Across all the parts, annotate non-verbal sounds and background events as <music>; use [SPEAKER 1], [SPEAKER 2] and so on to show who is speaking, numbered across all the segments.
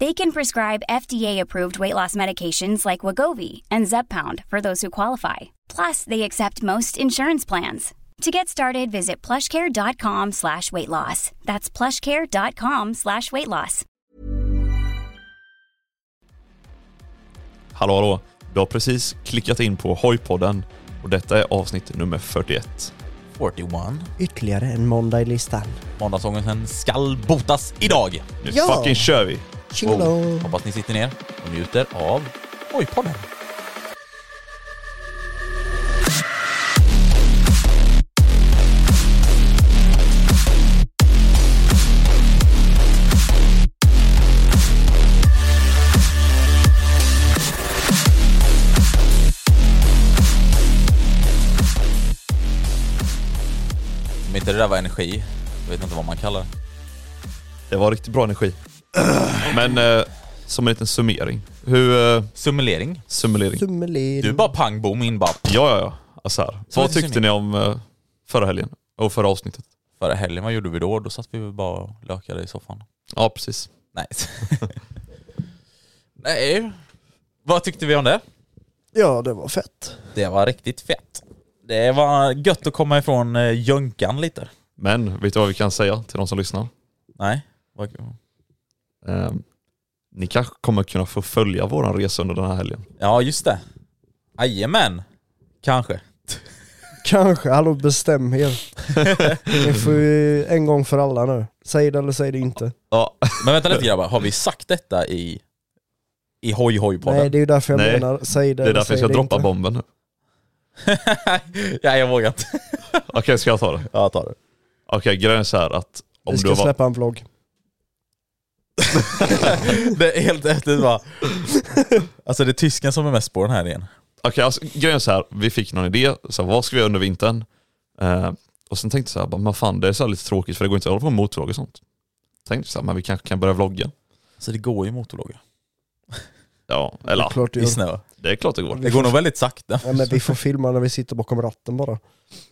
[SPEAKER 1] They can prescribe FDA-approved weight loss medications like Wagovi and Zepbound for those who qualify. Plus, they accept most insurance plans. To get started, visit plushcare.com slash weight loss. That's plushcare.com slash weight loss.
[SPEAKER 2] Hallå hallå! Du har precis klickat in på Hojpodden och detta är avsnitt nummer 41.
[SPEAKER 3] 41.
[SPEAKER 4] Ytterligare en måndag i listan.
[SPEAKER 3] Måndagsångesten skall botas idag.
[SPEAKER 2] Nu
[SPEAKER 4] Ja.
[SPEAKER 2] fucking kör vi!
[SPEAKER 4] Tjingelong!
[SPEAKER 3] Hoppas ni sitter ner och njuter av Oj-podden. Om inte det där var energi, jag vet inte vad man kallar det.
[SPEAKER 2] Det var riktigt bra energi. Men eh, som en liten summering. Hur... Eh,
[SPEAKER 3] Simulering.
[SPEAKER 2] summulering.
[SPEAKER 4] Tummelin.
[SPEAKER 3] Du bara pang bom in bara
[SPEAKER 2] Ja, ja, ja. Alltså här.
[SPEAKER 3] Så
[SPEAKER 2] Vad
[SPEAKER 3] lite
[SPEAKER 2] tyckte ni om eh, förra helgen? Och förra avsnittet?
[SPEAKER 3] förra helgen, vad gjorde vi då? Då satt vi väl bara och lökade i soffan.
[SPEAKER 2] Ja, precis.
[SPEAKER 3] <laughs> Nej. Nej. Vad tyckte vi om det?
[SPEAKER 4] Ja, det var fett.
[SPEAKER 3] Det var riktigt fett. Det var gött att komma ifrån eh, jönkan lite.
[SPEAKER 2] Men vet du vad vi kan säga till de som lyssnar?
[SPEAKER 3] Nej. Vad-
[SPEAKER 2] Eh, ni kanske kommer kunna få följa våran resa under den här helgen.
[SPEAKER 3] Ja, just det. Jajamän. Kanske.
[SPEAKER 4] Kanske, hallå
[SPEAKER 2] <laughs>
[SPEAKER 4] bestäm er. Ni får ju en gång för alla nu. Säg det eller säg det inte.
[SPEAKER 2] Ja.
[SPEAKER 3] Men vänta lite grabbar, har vi sagt detta i, i Hoj
[SPEAKER 4] Nej,
[SPEAKER 3] Hoj-podden?
[SPEAKER 4] det är ju därför jag
[SPEAKER 2] Nej,
[SPEAKER 4] menar, säg det
[SPEAKER 2] Det är
[SPEAKER 4] eller
[SPEAKER 2] därför
[SPEAKER 4] säg
[SPEAKER 2] jag ska
[SPEAKER 4] det
[SPEAKER 2] droppa
[SPEAKER 4] inte.
[SPEAKER 2] bomben nu.
[SPEAKER 3] <laughs> Nej, jag vågar inte.
[SPEAKER 2] Okej, ska jag ta det?
[SPEAKER 3] Jag tar det.
[SPEAKER 2] Okej, grejen är så här att om
[SPEAKER 4] Vi
[SPEAKER 2] du
[SPEAKER 4] ska
[SPEAKER 2] har varit...
[SPEAKER 4] släppa en vlogg.
[SPEAKER 3] Det är helt efter bara. Alltså det är tysken som är mest på den här igen.
[SPEAKER 2] Okej, alltså, grejen är så här, vi fick någon idé, så här, vad ska vi göra under vintern? Eh, och sen tänkte jag så här, bara, men fan det är så här lite tråkigt för det går inte att hålla på med motorvlogg och sånt. Tänkte så här, men vi kanske kan börja vlogga.
[SPEAKER 3] Så det går ju motorlåga.
[SPEAKER 2] Ja, eller ja,
[SPEAKER 4] Klart du
[SPEAKER 3] I
[SPEAKER 4] gör.
[SPEAKER 3] snö.
[SPEAKER 2] det är klart det går.
[SPEAKER 3] Det går nog väldigt sakta.
[SPEAKER 4] Ja, men vi får filma när vi sitter bakom ratten bara.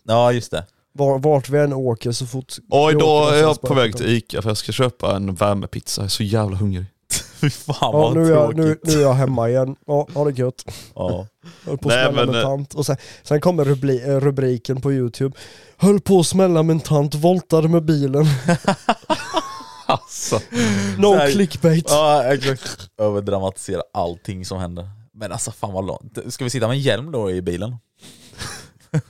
[SPEAKER 3] Ja just det.
[SPEAKER 4] Var, vart vi än åker så fort...
[SPEAKER 2] Oj,
[SPEAKER 4] vi
[SPEAKER 2] då
[SPEAKER 4] åker
[SPEAKER 2] är jag
[SPEAKER 4] någonstans
[SPEAKER 2] på
[SPEAKER 4] bara-
[SPEAKER 2] väg till Ica för jag ska köpa en värmepizza, jag är så jävla hungrig.
[SPEAKER 3] <laughs> Fy fan
[SPEAKER 4] Ja,
[SPEAKER 3] vad
[SPEAKER 4] nu är, jag,
[SPEAKER 3] tråkigt.
[SPEAKER 4] nu, nu är jag hemma igen. Ja, ha det gött.
[SPEAKER 3] Ja.
[SPEAKER 4] Höll på att
[SPEAKER 2] Nej,
[SPEAKER 4] smälla
[SPEAKER 2] men,
[SPEAKER 4] med
[SPEAKER 2] eh,
[SPEAKER 4] tant. Och sen, sen kommer rubli, eh, rubriken på youtube. Höll på att smälla med en tant, voltade med bilen.
[SPEAKER 2] Alltså.
[SPEAKER 4] No
[SPEAKER 3] Så här-
[SPEAKER 4] clickbait.
[SPEAKER 3] ja exakt. Överdramatisera allting som händer. Men alltså fan vad långt. Ska vi sitta med en hjälm då i bilen? <laughs>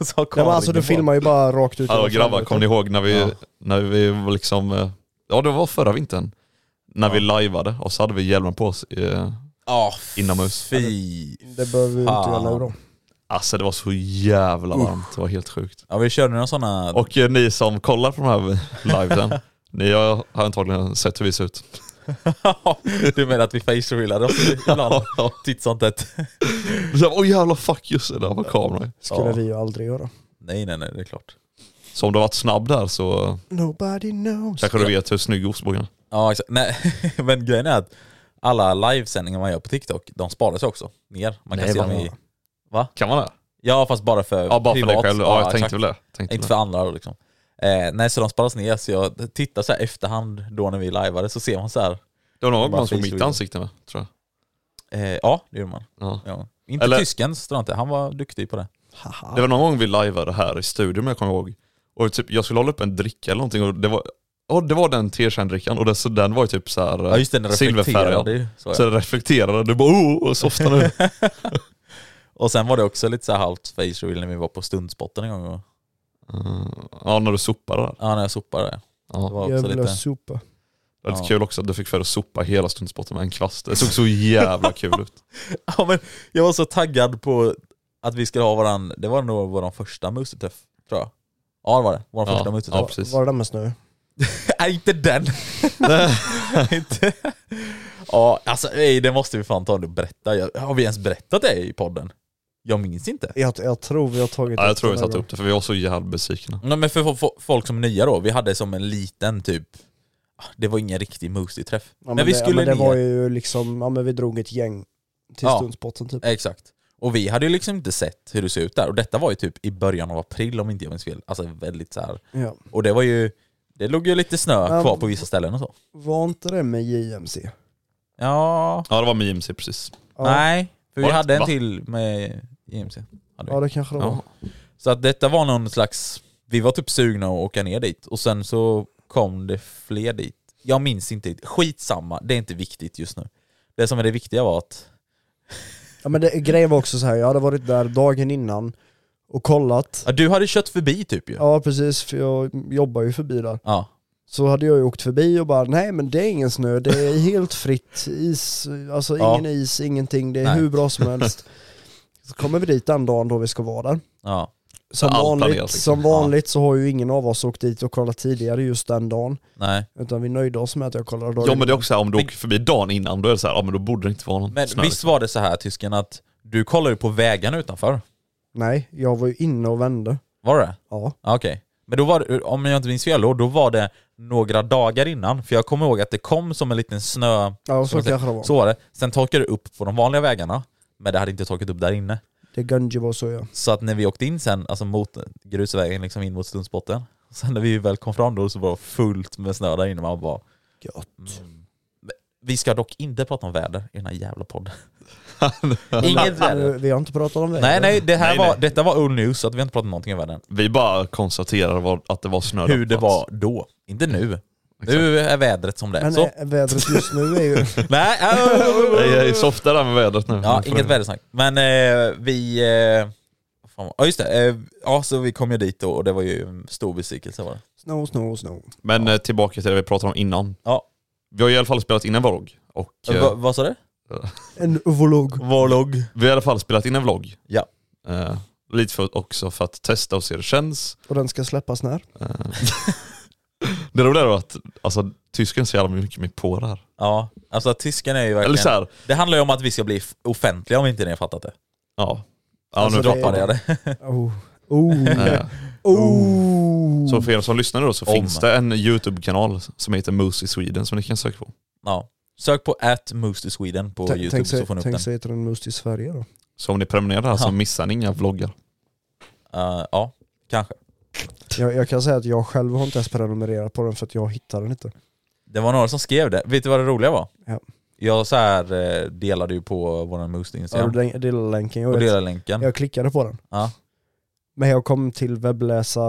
[SPEAKER 3] Så har
[SPEAKER 4] Nej, men alltså du
[SPEAKER 3] kameran-
[SPEAKER 4] filmar ju bara rakt ut.
[SPEAKER 2] Alltså
[SPEAKER 4] genom
[SPEAKER 2] grabbar,
[SPEAKER 4] fönstret.
[SPEAKER 2] kommer ni ihåg när vi,
[SPEAKER 3] Ja.
[SPEAKER 2] när vi var liksom, eh, ja det var förra vintern, när vi lajvade och så hade vi hjälmen på oss. eh,
[SPEAKER 3] Ja,
[SPEAKER 2] Inomhus.
[SPEAKER 3] Fy.
[SPEAKER 4] Det behöver vi ju inte
[SPEAKER 3] Fan.
[SPEAKER 4] göra nu då.
[SPEAKER 2] Alltså det var så jävla varmt, det var helt sjukt.
[SPEAKER 3] Ja vi körde några sådana... <laughs>
[SPEAKER 2] Och eh, ni som kollar på de här livesen, ni har har antagligen sett hur vi ser ut.
[SPEAKER 3] du menar att vi face reelade oss ibland? Titt som tätt.
[SPEAKER 2] Så, Åh jävlar fuck just det, där var kameran.
[SPEAKER 4] Skulle
[SPEAKER 3] Ja.
[SPEAKER 4] vi ju aldrig göra.
[SPEAKER 3] Nej nej nej, det är klart.
[SPEAKER 2] Så om du har varit snabb där så eh,
[SPEAKER 4] Nobody knows.
[SPEAKER 2] kanske du vet hur snygg ostbågen är.
[SPEAKER 3] Ja exakt. Nej <laughs> men grejen är att alla livesändningar man gör på TikTok, de sparas ju också ner. Man kan
[SPEAKER 2] Nej,
[SPEAKER 3] se dem
[SPEAKER 2] vad-
[SPEAKER 3] i...
[SPEAKER 2] Kan man det?
[SPEAKER 3] Ja fast bara för
[SPEAKER 2] Ja bara för
[SPEAKER 3] privat.
[SPEAKER 2] dig själv, ja jag
[SPEAKER 3] exakt.
[SPEAKER 2] tänkte väl det. Tänkte väl
[SPEAKER 3] Inte för
[SPEAKER 2] det.
[SPEAKER 3] andra liksom. Eh, nej, så de sparas ner, så jag tittar så här efterhand då när vi lajvade, så ser man så här.
[SPEAKER 2] Det var nog
[SPEAKER 3] Bara
[SPEAKER 2] någon som mitt
[SPEAKER 3] Facebook.
[SPEAKER 2] ansikte med, tror
[SPEAKER 3] Eh, ja, det gjorde man.
[SPEAKER 2] jag. Ja.
[SPEAKER 3] Ja. Inte
[SPEAKER 2] Eller-
[SPEAKER 3] tysken, så tror jag inte. Han var duktig på det.
[SPEAKER 4] Haha.
[SPEAKER 2] Det var någon gång vi lajvade här i studion, jag kommer ihåg. Och typ, jag skulle hålla upp en dricka eller någonting och det var, ja det var den teersändrickan och den, så den var ju typ så här
[SPEAKER 3] Ja, just det, den
[SPEAKER 2] silverfärgad.
[SPEAKER 3] reflekterade ju. Så, ja.
[SPEAKER 2] Så den reflekterade, du bara oh, och softade
[SPEAKER 3] <laughs>
[SPEAKER 2] nu.
[SPEAKER 3] Och sen var det också lite så här halvt face reveal när vi var på stundspotten en gång. Och,
[SPEAKER 2] Mm. Ja, när du sopade där.
[SPEAKER 3] ja, när jag sopade. Det
[SPEAKER 2] Ja.
[SPEAKER 3] var också
[SPEAKER 4] Jävla
[SPEAKER 3] lite...
[SPEAKER 4] sopa.
[SPEAKER 2] Det var lite
[SPEAKER 3] Ja.
[SPEAKER 2] kul också att du fick för att sopa hela stundspotten med en kvast. Det såg så jävla kul
[SPEAKER 4] <laughs>
[SPEAKER 2] ut.
[SPEAKER 3] Ja, men jag var så taggad på att vi skulle ha varann, det var nog vår första museträff, tror jag. Ja det var det, vår
[SPEAKER 2] Ja,
[SPEAKER 3] första
[SPEAKER 2] ja
[SPEAKER 3] museträff.
[SPEAKER 2] precis.
[SPEAKER 4] Var det där med snö?
[SPEAKER 3] <laughs> Nej inte den! inte. Ja alltså ej, det måste vi fan ta och berätta. Jag, har vi ens berättat det i podden? Jag minns inte.
[SPEAKER 4] Jag, jag tror vi har tagit
[SPEAKER 2] Ja, jag
[SPEAKER 4] upp
[SPEAKER 2] tror vi
[SPEAKER 4] den
[SPEAKER 2] satte
[SPEAKER 4] här
[SPEAKER 2] upp det för vi var så jävla besvikna.
[SPEAKER 3] Nej, men för fo- fo- folk som är nya då, vi hade som en liten typ, ah, det var ingen riktig museträff.
[SPEAKER 4] Ja, men,
[SPEAKER 3] men vi
[SPEAKER 4] det, ja,
[SPEAKER 3] skulle
[SPEAKER 4] men det
[SPEAKER 3] ner.
[SPEAKER 4] var ju liksom, ja men vi drog ett gäng till
[SPEAKER 3] Ja.
[SPEAKER 4] stundspotten typ.
[SPEAKER 3] Exakt. Och vi hade ju liksom inte sett hur det såg ut där. Och detta var ju typ i början av april om inte jag minns fel. Alltså väldigt så här.
[SPEAKER 4] Ja.
[SPEAKER 3] Och det var ju, det låg ju lite snö
[SPEAKER 4] Ja.
[SPEAKER 3] kvar på vissa ställen och så.
[SPEAKER 4] Var inte det med JMC?
[SPEAKER 3] Ja,
[SPEAKER 2] Ja det var med JMC precis.
[SPEAKER 4] Ja,
[SPEAKER 3] nej. För vi
[SPEAKER 2] Var det-
[SPEAKER 3] hade en
[SPEAKER 2] va?
[SPEAKER 3] till med IMC. Hade vi.
[SPEAKER 4] ja det kanske det var.
[SPEAKER 2] Ja.
[SPEAKER 3] Så att detta var någon slags, vi var typ sugna att åka ner dit. Och sen så kom det fler dit. Jag minns inte, skitsamma, det är inte viktigt just nu. Det som är det viktiga var att,
[SPEAKER 4] Ja, men det, grejen var också så här, jag hade varit där dagen innan och kollat.
[SPEAKER 3] ja, du hade kört förbi typ ju.
[SPEAKER 4] Ja precis, för jag jobbar ju förbi där.
[SPEAKER 3] Ja.
[SPEAKER 4] Så hade jag ju åkt förbi och bara nej men det är ingen snö, det är helt fritt is, alltså
[SPEAKER 3] Ja.
[SPEAKER 4] ingen is, ingenting, det är
[SPEAKER 3] Nej.
[SPEAKER 4] hur bra som helst. Så kommer vi dit den dagen då vi ska vara där.
[SPEAKER 3] ja.
[SPEAKER 4] Som
[SPEAKER 2] allt
[SPEAKER 4] vanligt,
[SPEAKER 2] planerat, liksom.
[SPEAKER 4] som vanligt så har ju ingen av oss åkt dit och kollat tidigare just den dagen.
[SPEAKER 3] Nej.
[SPEAKER 4] Utan vi nöjde oss med att jag kollade dagen
[SPEAKER 2] Ja men det är
[SPEAKER 4] innan.
[SPEAKER 2] också så här, om du åker förbi dagen innan då är det så här, ja men då borde det inte vara någon
[SPEAKER 3] Men
[SPEAKER 2] snö.
[SPEAKER 3] visst var det så här tysken att du kollade ju på vägarna utanför?
[SPEAKER 4] Nej, jag var ju inne och vände.
[SPEAKER 3] Var det?
[SPEAKER 4] Ja.
[SPEAKER 3] Ja, Okej. Men då var det, om jag inte minns fel, då då var det några dagar innan. För jag kommer ihåg att det kom som en liten snö...
[SPEAKER 4] Ja,
[SPEAKER 3] ska man
[SPEAKER 4] så
[SPEAKER 3] säga.
[SPEAKER 4] kanske det var.
[SPEAKER 3] Så var det. Sen torkade det upp på de vanliga vägarna. Men det hade inte torkat upp där inne.
[SPEAKER 4] Det Gunji var så ja.
[SPEAKER 3] Så att när vi åkte in sen, alltså mot grusvägen liksom in mot Stundsbotten. <laughs> Sen när vi väl kom fram då så var det fullt med snö där inne. Man bara,
[SPEAKER 4] Gött.
[SPEAKER 3] vi ska dock inte prata om väder i den här jävla podden. <laughs>
[SPEAKER 2] liksom.
[SPEAKER 3] Inget
[SPEAKER 4] Vi,
[SPEAKER 3] väder.
[SPEAKER 4] vi har inte pratat om väder.
[SPEAKER 3] Nej nej, det här
[SPEAKER 2] Nej,
[SPEAKER 3] var,
[SPEAKER 2] nej.
[SPEAKER 3] detta var old news så att vi har inte pratat om någonting om vädern.
[SPEAKER 2] <laughs> Vi bara konstaterar vad- att det var snö där
[SPEAKER 3] hur
[SPEAKER 2] på
[SPEAKER 3] det
[SPEAKER 2] plats.
[SPEAKER 3] var då. Inte nu. Nu är vädret som det är.
[SPEAKER 4] Men
[SPEAKER 3] Så.
[SPEAKER 4] eh, vädret just nu är ju...
[SPEAKER 3] <laughs>
[SPEAKER 4] <laughs>
[SPEAKER 3] Nej, äh,
[SPEAKER 2] Jag är softa där med vädret nu.
[SPEAKER 3] ja,
[SPEAKER 2] Nu får
[SPEAKER 3] inget
[SPEAKER 2] du-
[SPEAKER 3] vädersnack. Men eh, vi... Eh, fan, vad- ja just det. Eh, ja, så vi kom ju dit då och det var ju en stor besvikelse var det.
[SPEAKER 4] Snow, snow, snow.
[SPEAKER 2] Men eh, tillbaka till det vi pratade om innan.
[SPEAKER 3] Ja.
[SPEAKER 2] Vi har i alla fall spelat in en vlogg. Och, eh,
[SPEAKER 3] Va, vad sa du?
[SPEAKER 4] En uvolog.
[SPEAKER 3] Vlogg.
[SPEAKER 2] vi har i alla fall spelat in en vlogg.
[SPEAKER 3] Ja.
[SPEAKER 2] Eh, lite för, också för att testa och se hur det känns.
[SPEAKER 4] Och den ska släppas när?
[SPEAKER 2] Eh, det roliga är att alltså, tysken ser jävla mycket mer på det här.
[SPEAKER 3] Ja, alltså att tysken är ju verkligen...
[SPEAKER 2] Eller så här,
[SPEAKER 3] Det handlar ju om att vi ska bli f- offentliga om inte ni har fattat det.
[SPEAKER 2] ja. ja
[SPEAKER 4] Alltså,
[SPEAKER 2] nu
[SPEAKER 4] det-
[SPEAKER 2] droppar
[SPEAKER 3] Droppade <laughs> jag det?
[SPEAKER 4] Oh. Oh.
[SPEAKER 2] det. Eh,
[SPEAKER 4] oh.
[SPEAKER 2] Så för er som lyssnar då så
[SPEAKER 3] Om.
[SPEAKER 2] finns det en YouTube-kanal som heter Moose i Sweden som ni kan söka på.
[SPEAKER 3] Ja. Sök på at Moose to Sweden på
[SPEAKER 4] Tänk-
[SPEAKER 3] youtube
[SPEAKER 4] tänk
[SPEAKER 3] så
[SPEAKER 4] sig,
[SPEAKER 3] får ni upp den.
[SPEAKER 4] tänk sig heter den Must i Sverige då.
[SPEAKER 2] Så om ni prenumererar här så
[SPEAKER 3] Ja.
[SPEAKER 2] missar ni inga vloggar.
[SPEAKER 3] Eh, ja, kanske.
[SPEAKER 4] Jag, jag kan säga att jag själv har inte ens prenumererat på den för att jag hittade den inte.
[SPEAKER 3] Det var några som skrev det. Vet du vad det roliga var?
[SPEAKER 4] Ja.
[SPEAKER 3] Jag så här, eh, delade ju på vår Moose
[SPEAKER 4] Ja.
[SPEAKER 3] Instagram
[SPEAKER 4] Det är lilla länken, jag
[SPEAKER 3] och
[SPEAKER 4] vet.
[SPEAKER 3] delade länken.
[SPEAKER 4] Jag klickade på den.
[SPEAKER 3] Ja.
[SPEAKER 4] Men jag kom till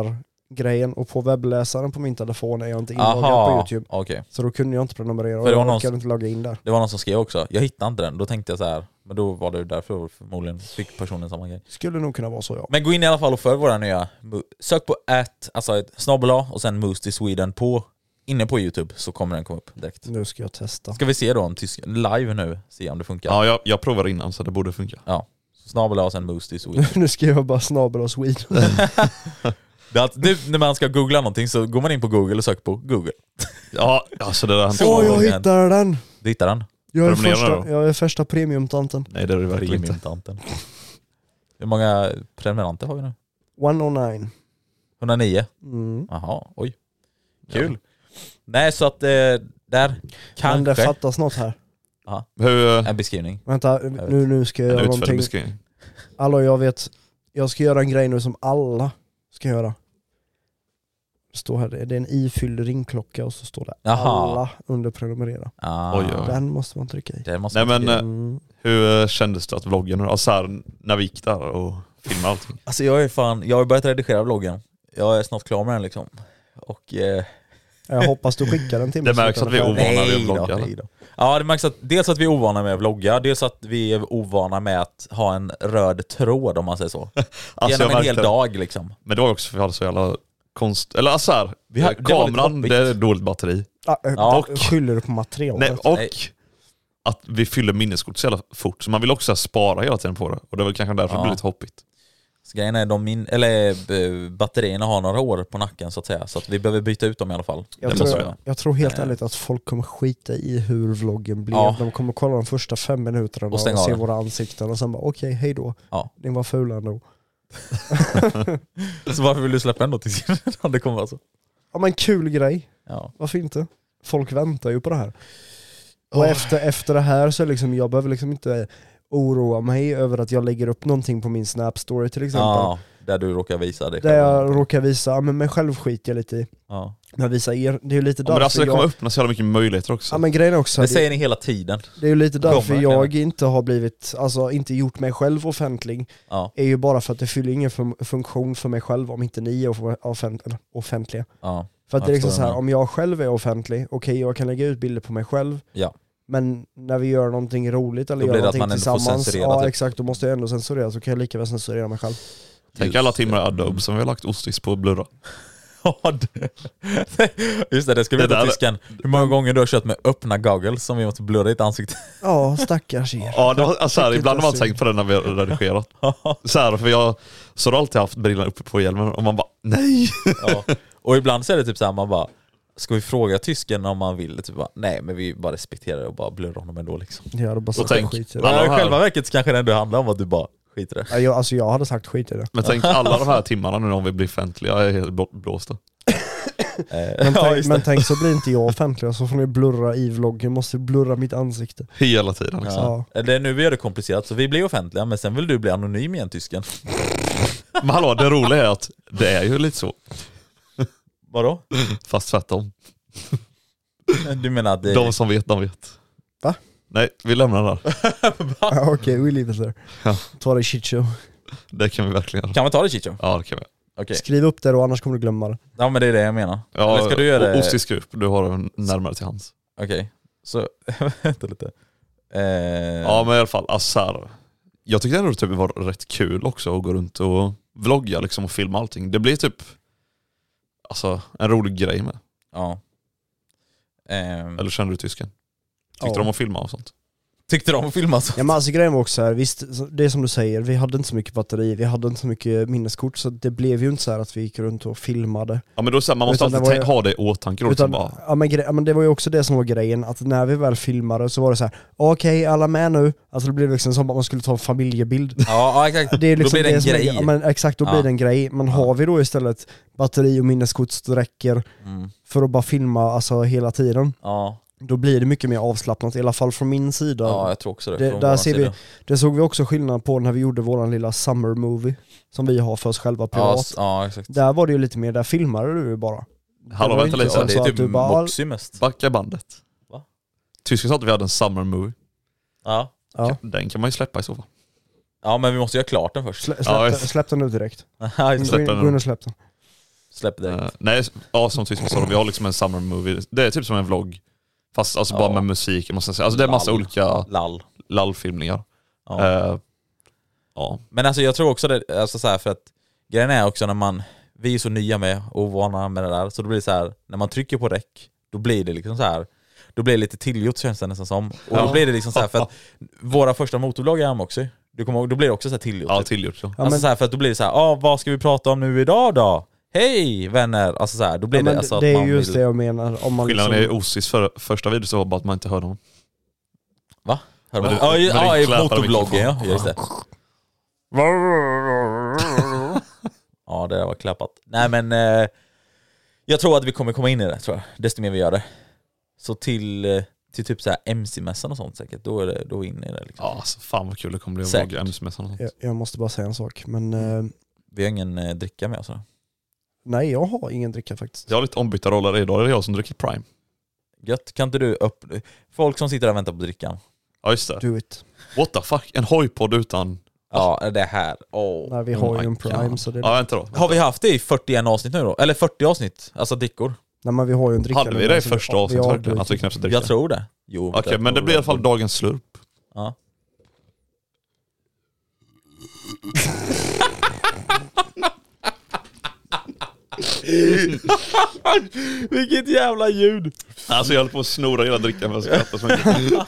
[SPEAKER 4] webbläsargrejen och på webbläsaren på min telefon är jag inte inloggad på
[SPEAKER 3] Aha,
[SPEAKER 4] Youtube.
[SPEAKER 3] okej.
[SPEAKER 4] Så då kunde jag inte prenumerera och
[SPEAKER 3] För det var
[SPEAKER 4] jag
[SPEAKER 3] någon
[SPEAKER 4] orkade inte logga in där.
[SPEAKER 3] Det var någon som skrev också. Jag hittade inte den. Då tänkte jag så här. men då var det därför förmodligen fick personen samma grej.
[SPEAKER 4] Skulle nog kunna vara så ja.
[SPEAKER 3] Men gå in i alla fall och följ våra nya, mo- sök på at, alltså ett snabel A och sen Moose to Sweden på, inne på youtube så kommer den komma upp direkt.
[SPEAKER 4] Nu ska jag testa. <laughs>
[SPEAKER 3] Ska vi se då om tysk, live nu, se om det funkar.
[SPEAKER 2] Ja, jag, jag provar innan så det borde funka.
[SPEAKER 3] Snabel A och sen Moose to Sweden.
[SPEAKER 4] nu skriver jag bara snabel
[SPEAKER 3] <laughs>
[SPEAKER 4] och Sweden.
[SPEAKER 3] Det är alltid- nu när man ska googla någonting så går man in på google och söker på google.
[SPEAKER 2] Ja, alltså det där har inte
[SPEAKER 4] Åh
[SPEAKER 3] Så-
[SPEAKER 2] varit-
[SPEAKER 4] jag hittade den!
[SPEAKER 3] Du hittar den.
[SPEAKER 4] Jag är
[SPEAKER 2] Prenumerera
[SPEAKER 4] första,
[SPEAKER 2] då.
[SPEAKER 4] jag är första premiumtanten.
[SPEAKER 2] Nej det är det verkligen inte.
[SPEAKER 3] Premiumtanten. Hur många prenumeranter har vi nu?
[SPEAKER 4] 109.
[SPEAKER 3] 109?
[SPEAKER 4] Mm.
[SPEAKER 3] Jaha, oj. Kul. Nej, så att eh, där
[SPEAKER 4] Men det
[SPEAKER 3] kanske
[SPEAKER 4] fattas något här.
[SPEAKER 2] Hur, eh,
[SPEAKER 3] en beskrivning.
[SPEAKER 4] Vänta,
[SPEAKER 3] vet.
[SPEAKER 4] nu, nu ska jag
[SPEAKER 2] en
[SPEAKER 4] göra
[SPEAKER 2] utförlig
[SPEAKER 4] någonting.
[SPEAKER 2] beskrivning.
[SPEAKER 4] Hallå jag vet, jag ska göra en grej nu som alla ska göra. Det står här, det är en ifylld ringklocka och så står det
[SPEAKER 3] Jaha.
[SPEAKER 4] alla under prenumerera.
[SPEAKER 3] Ah,
[SPEAKER 2] Oj, oj. Ja.
[SPEAKER 4] Den måste man trycka i.
[SPEAKER 3] Det måste
[SPEAKER 2] Nej
[SPEAKER 3] man
[SPEAKER 2] men eh,
[SPEAKER 3] tycka.
[SPEAKER 4] Mm.
[SPEAKER 2] hur kändes det att vloggen, alltså här, när vi gick där och filmade allting?
[SPEAKER 3] Alltså jag är fan, jag har börjat redigera vloggen. Jag är snart klar med den liksom. Och... Eh,
[SPEAKER 4] Jag hoppas du skickar den till mig.
[SPEAKER 2] Det märks
[SPEAKER 4] så
[SPEAKER 2] att vi är
[SPEAKER 4] kan-
[SPEAKER 2] ovana vid att
[SPEAKER 3] då,
[SPEAKER 2] vlogga,
[SPEAKER 3] nej
[SPEAKER 2] eller?
[SPEAKER 3] då. Ja det märks att dels att vi är ovana med att vlogga, dels att vi är ovana med att ha en röd tråd om man säger så.
[SPEAKER 2] Alltså, jag
[SPEAKER 3] Genom en hel
[SPEAKER 2] märkte-
[SPEAKER 3] dag liksom.
[SPEAKER 2] Men det var ju också för vi hade så jävla konst... Eller alltså här, vi
[SPEAKER 3] har-
[SPEAKER 2] har,
[SPEAKER 3] det var lite
[SPEAKER 2] kameran,
[SPEAKER 3] hoppigt.
[SPEAKER 2] det är dåligt batteri.
[SPEAKER 4] Ah, eh,
[SPEAKER 3] Ja,
[SPEAKER 2] och-
[SPEAKER 4] Skyller du på
[SPEAKER 2] Nej,
[SPEAKER 4] materialet?
[SPEAKER 2] och
[SPEAKER 3] Nej.
[SPEAKER 2] att vi fyller minneskort så jävla fort. Så man vill också spara hela tiden på det. Och det var kanske därför
[SPEAKER 3] Ja.
[SPEAKER 2] det blev lite hoppigt.
[SPEAKER 3] Så grejen är, de min- eller, eh, batterierna har några år på nacken så att säga, så att vi behöver byta ut dem i alla fall.
[SPEAKER 4] Jag
[SPEAKER 2] Det
[SPEAKER 3] måste
[SPEAKER 4] tror,
[SPEAKER 3] vi.
[SPEAKER 4] jag tror helt
[SPEAKER 3] Nej.
[SPEAKER 4] ärligt att folk kommer skita i hur vloggen blev.
[SPEAKER 3] Ja.
[SPEAKER 4] De kommer kolla de första fem minuterna och,
[SPEAKER 3] Och stänga av
[SPEAKER 4] se
[SPEAKER 3] den.
[SPEAKER 4] våra ansikten och sen bara okej, hej då.
[SPEAKER 3] Ja.
[SPEAKER 4] Ni var fula ändå.
[SPEAKER 3] Så varför vill du släppa den då tills <laughs> innan det kommer alltså?
[SPEAKER 4] Ja men kul grej,
[SPEAKER 3] Ja.
[SPEAKER 4] varför inte? Folk väntar ju på det här. Och efter, efter det här så liksom, jag behöver liksom inte oroa mig över att jag lägger upp någonting på min snap story till exempel.
[SPEAKER 3] ja, där du råkar visa dig
[SPEAKER 4] Där
[SPEAKER 3] själv.
[SPEAKER 4] jag råkar visa, ja, men mig själv skiter jag lite i.
[SPEAKER 3] ja.
[SPEAKER 4] Men visa er, det är ju lite
[SPEAKER 2] Ja, men alltså
[SPEAKER 4] därför
[SPEAKER 2] det kommer
[SPEAKER 4] jag...
[SPEAKER 2] öppna så jävla mycket möjligheter också.
[SPEAKER 4] Ja men grejen är också,
[SPEAKER 3] Det
[SPEAKER 4] det,
[SPEAKER 3] säger ni hela tiden.
[SPEAKER 4] det är ju lite därför
[SPEAKER 3] Kommer,
[SPEAKER 4] jag
[SPEAKER 3] menar
[SPEAKER 4] inte har blivit, alltså inte gjort mig själv offentlig.
[SPEAKER 3] Ja,
[SPEAKER 4] är ju bara för att det fyller ingen fun- funktion för mig själv om inte ni är off- offent- eller offentliga.
[SPEAKER 3] ja,
[SPEAKER 4] För att
[SPEAKER 3] Jag
[SPEAKER 4] det är liksom
[SPEAKER 3] förstår
[SPEAKER 4] så här,
[SPEAKER 3] det.
[SPEAKER 4] om jag själv är offentlig, okej jag kan lägga ut bilder på mig själv,
[SPEAKER 3] ja.
[SPEAKER 4] men när vi gör någonting roligt eller
[SPEAKER 3] Då
[SPEAKER 4] gör
[SPEAKER 3] blir det att
[SPEAKER 4] någonting
[SPEAKER 3] man ändå får
[SPEAKER 4] tillsammans,
[SPEAKER 3] censurera,
[SPEAKER 4] ja
[SPEAKER 3] typ.
[SPEAKER 4] exakt, då måste jag ändå censurera så kan jag lika väl censurera mig själv.
[SPEAKER 2] Tänk
[SPEAKER 3] just
[SPEAKER 2] alla timmar i Adobe
[SPEAKER 3] Mm.
[SPEAKER 2] som vi har lagt ostis på och blurra.
[SPEAKER 3] Ja, det- <laughs> Just det, det ska vi
[SPEAKER 2] Det
[SPEAKER 3] veta
[SPEAKER 2] där-
[SPEAKER 3] tysken. Hur många gånger du har kört med öppna goggles som vi måste blurra ditt ansikte.
[SPEAKER 4] Ja, stackars er.
[SPEAKER 2] Ja, det var, alltså här,
[SPEAKER 4] Vilket
[SPEAKER 2] ibland har man
[SPEAKER 4] alltså-
[SPEAKER 2] tänkt på det när vi har
[SPEAKER 3] <laughs>
[SPEAKER 2] redigerat. Så här, för jag så har jag alltid haft brillan uppe på hjälmen och man bara nej.
[SPEAKER 3] Ja. <laughs> Och ibland så är det typ så här, man bara Ska vi fråga tysken om han vill? Typ bara, nej men vi bara respekterar det och bara blurrar honom ändå liksom.
[SPEAKER 4] Jag hade bara sagt
[SPEAKER 2] tänk-
[SPEAKER 4] skit i det.
[SPEAKER 2] Ja.
[SPEAKER 3] Men I
[SPEAKER 2] här-
[SPEAKER 3] själva verket så kanske det ändå handlar om att du bara skiter i det.
[SPEAKER 4] Ja, jag, alltså jag hade sagt skit i det.
[SPEAKER 2] Men
[SPEAKER 3] <laughs>
[SPEAKER 2] tänk alla de här timmarna nu om vi blir offentliga, jag är helt bl- blåsta.
[SPEAKER 3] Eh, <laughs>
[SPEAKER 4] Men,
[SPEAKER 3] ja,
[SPEAKER 4] tänk,
[SPEAKER 3] just
[SPEAKER 4] men
[SPEAKER 3] det.
[SPEAKER 4] tänk så blir inte jag offentlig, så får ni blurra i vloggen, måste blurra mitt ansikte.
[SPEAKER 2] Hela tiden liksom.
[SPEAKER 3] Ja. Det är nu vi gör det komplicerat, så vi blir offentliga men sen vill du bli anonym igen tysken.
[SPEAKER 2] Men hallå, det roliga är att det är ju lite så,
[SPEAKER 3] Vadå?
[SPEAKER 2] fast tvärtom.
[SPEAKER 3] Du menar att det...
[SPEAKER 2] De som vet, de vet.
[SPEAKER 4] Va?
[SPEAKER 2] Nej, vi lämnar det där.
[SPEAKER 3] <laughs>
[SPEAKER 4] Ja, Okej, we leave it there.
[SPEAKER 2] Ja.
[SPEAKER 4] Ta det i shit show.
[SPEAKER 2] Det kan vi verkligen göra.
[SPEAKER 3] Kan vi ta det Chicho?
[SPEAKER 2] Ja, det kan vi.
[SPEAKER 3] Okej.
[SPEAKER 4] Skriv upp det då, annars kommer du glömma det.
[SPEAKER 3] Ja men det är det jag menar.
[SPEAKER 2] Ja,
[SPEAKER 3] Eller ska du göra
[SPEAKER 2] och
[SPEAKER 3] det?
[SPEAKER 2] Ostisgrupp, du har den närmare till hands.
[SPEAKER 3] Okej. Så, eh. vänta lite. Eh,
[SPEAKER 2] Ja men i alla fall, alltså här, Jag tyckte ändå typ det var rätt kul också att gå runt och vlogga liksom och filma allting. Det blir typ alltså, en rolig grej med.
[SPEAKER 3] ja. Ehm,
[SPEAKER 2] Eller känner du tysken? Tyckte
[SPEAKER 4] Ja.
[SPEAKER 2] de om att filma och sånt?
[SPEAKER 3] tyckte de om att filma så?
[SPEAKER 4] Ja men alltså grejen var också här, visst, så- det är som du säger, vi hade inte så mycket batteri, vi hade inte så mycket minneskort så det blev ju inte så här att vi gick runt och filmade.
[SPEAKER 2] Ja men då är det så här, man måste
[SPEAKER 4] Utan det
[SPEAKER 2] alltid
[SPEAKER 4] var
[SPEAKER 2] tän-
[SPEAKER 4] ju-
[SPEAKER 2] ha det i åtanke då. liksom
[SPEAKER 4] Utan,
[SPEAKER 2] bara,
[SPEAKER 4] ja, men gre- ja men det var ju också det som var grejen, att när vi väl filmade så var det så här: okej alla med nu, alltså det blev liksom som att man skulle ta
[SPEAKER 3] <laughs>
[SPEAKER 4] en familjebild.
[SPEAKER 3] Ja, ja exakt.
[SPEAKER 4] Det är liksom
[SPEAKER 3] då blir det en
[SPEAKER 4] som är-
[SPEAKER 3] grej.
[SPEAKER 4] ja, men exakt, då
[SPEAKER 3] Ja.
[SPEAKER 4] blir det en grej. Men har vi då istället batteri och minneskort som räcker
[SPEAKER 3] Mm.
[SPEAKER 4] för att bara filma alltså, hela tiden,
[SPEAKER 3] Ja,
[SPEAKER 4] då blir det mycket mer avslappnat, i alla fall från min sida.
[SPEAKER 3] ja, jag tror också det.
[SPEAKER 4] Det,
[SPEAKER 3] från
[SPEAKER 4] där
[SPEAKER 3] vår
[SPEAKER 4] ser vi,
[SPEAKER 3] sida.
[SPEAKER 4] det såg vi också skillnad på när vi gjorde våran lilla summer movie som vi har för oss själva
[SPEAKER 3] Ja,
[SPEAKER 4] privat.
[SPEAKER 3] s- ja, exakt.
[SPEAKER 4] Där var det ju lite mer, där filmade du ju bara.
[SPEAKER 2] Hallå
[SPEAKER 4] var
[SPEAKER 2] vänta
[SPEAKER 4] inte
[SPEAKER 2] lite,
[SPEAKER 3] Ja,
[SPEAKER 4] så-
[SPEAKER 3] det
[SPEAKER 4] så
[SPEAKER 3] är
[SPEAKER 4] att
[SPEAKER 3] typ
[SPEAKER 4] du bara-
[SPEAKER 3] Moxie mest.
[SPEAKER 2] backa bandet.
[SPEAKER 3] Va?
[SPEAKER 2] Tysken sa att vi hade en summer movie. Typ,
[SPEAKER 3] Ja.
[SPEAKER 4] Ja.
[SPEAKER 2] Den kan man ju släppa i så fall.
[SPEAKER 3] ja, men vi måste göra klart den först.
[SPEAKER 4] Slä, släpp,
[SPEAKER 2] Ja,
[SPEAKER 4] den-
[SPEAKER 2] just-
[SPEAKER 4] släpp den nu direkt.
[SPEAKER 3] <laughs> Ja, just
[SPEAKER 4] Gå
[SPEAKER 3] det.
[SPEAKER 4] in,
[SPEAKER 2] den
[SPEAKER 4] gå in
[SPEAKER 2] nu.
[SPEAKER 4] och släpp den.
[SPEAKER 3] Släpp det.
[SPEAKER 4] Mm.
[SPEAKER 2] Eh, nej, ja som tysken sa, vi har liksom en summer movie. Det är typ som en vlogg. Fast alltså bara
[SPEAKER 3] Ja.
[SPEAKER 2] med musik, måste jag säga. Alltså det är massa
[SPEAKER 3] Lall.
[SPEAKER 2] olika
[SPEAKER 3] Lall.
[SPEAKER 2] lallfilmningar.
[SPEAKER 3] Ja.
[SPEAKER 2] Ja. ja.
[SPEAKER 3] Men alltså jag tror också det, alltså så här för att grejen är också när man, vi är så nya med och vana med det där, så då blir det så här, när man trycker på räck, då blir det liksom så här då blir det lite tillgjort känns det nästan som. Och då
[SPEAKER 2] Ja.
[SPEAKER 3] blir det liksom så här för att våra första motorblogg är Amoxy, du kommer ihåg, då blir det också så här tillgjort.
[SPEAKER 2] Ja,
[SPEAKER 3] typ.
[SPEAKER 2] tillgjort ja.
[SPEAKER 4] Ja,
[SPEAKER 3] alltså
[SPEAKER 4] men-
[SPEAKER 3] så här för att då blir det så här, ah, vad ska vi prata om nu idag då? Hej vänner! Alltså så här, då blir
[SPEAKER 4] Ja,
[SPEAKER 3] det
[SPEAKER 4] men
[SPEAKER 3] alltså
[SPEAKER 4] det
[SPEAKER 3] att
[SPEAKER 4] är
[SPEAKER 3] man
[SPEAKER 4] just
[SPEAKER 3] vill...
[SPEAKER 4] det jag menar. Om man
[SPEAKER 2] Skillnaden
[SPEAKER 4] liksom,
[SPEAKER 2] är ju Osis för, första video så var bara att man inte hörde honom.
[SPEAKER 3] Va? Hör du?
[SPEAKER 2] Men du-
[SPEAKER 3] Ja, ju-
[SPEAKER 2] men du
[SPEAKER 3] ja, i
[SPEAKER 2] klappar
[SPEAKER 3] motorbloggen ja,
[SPEAKER 2] mikrofonen.
[SPEAKER 3] just det. Ja, det där var klappat. Nej men, eh, jag tror att vi kommer komma in i det tror jag, desto mer vi gör det. Så till, eh, till typ så här MC-mässan och sånt säkert, då är, det, då är vi inne i det liksom.
[SPEAKER 2] Ja, alltså, fan vad kul det kommer bli att
[SPEAKER 3] Säkert.
[SPEAKER 2] vlogga MC-mässan och sånt.
[SPEAKER 3] Mm.
[SPEAKER 4] jag, jag måste bara säga en sak, men eh,
[SPEAKER 3] Vi har ingen eh, dricka med oss då.
[SPEAKER 4] Nej, jag har ingen dricka faktiskt.
[SPEAKER 2] Jag har lite ombytta roller idag, det är jag som dricker Prime.
[SPEAKER 3] Gött, kan inte du upp... Folk som sitter där och väntar på drickan.
[SPEAKER 2] Ja just det.
[SPEAKER 4] Do it.
[SPEAKER 2] What the fuck, en hojpodd utan...
[SPEAKER 3] Ja, det här. Åh.
[SPEAKER 4] Nej, vi
[SPEAKER 2] Oh
[SPEAKER 4] har
[SPEAKER 2] my
[SPEAKER 4] ju en prime
[SPEAKER 2] God.
[SPEAKER 4] så det är...
[SPEAKER 2] Ja vänta då.
[SPEAKER 3] Har vi haft det i 41 avsnitt nu då? Eller 40 avsnitt? Alltså dickor?
[SPEAKER 4] Nej men vi har ju en dricka
[SPEAKER 2] Hade
[SPEAKER 4] nu,
[SPEAKER 2] vi det i
[SPEAKER 4] alltså,
[SPEAKER 2] första
[SPEAKER 4] vi
[SPEAKER 2] avsnittet
[SPEAKER 4] har
[SPEAKER 2] verkligen? Att vi
[SPEAKER 4] druckit.
[SPEAKER 2] knappt dricker?
[SPEAKER 3] Jag tror det. Jo.
[SPEAKER 2] Okej, men det blir i alla fall dagens slurp.
[SPEAKER 3] Ja. Vilket jävla ljud!
[SPEAKER 2] Alltså jag höll på att snora hela drickan för att skratta så mycket.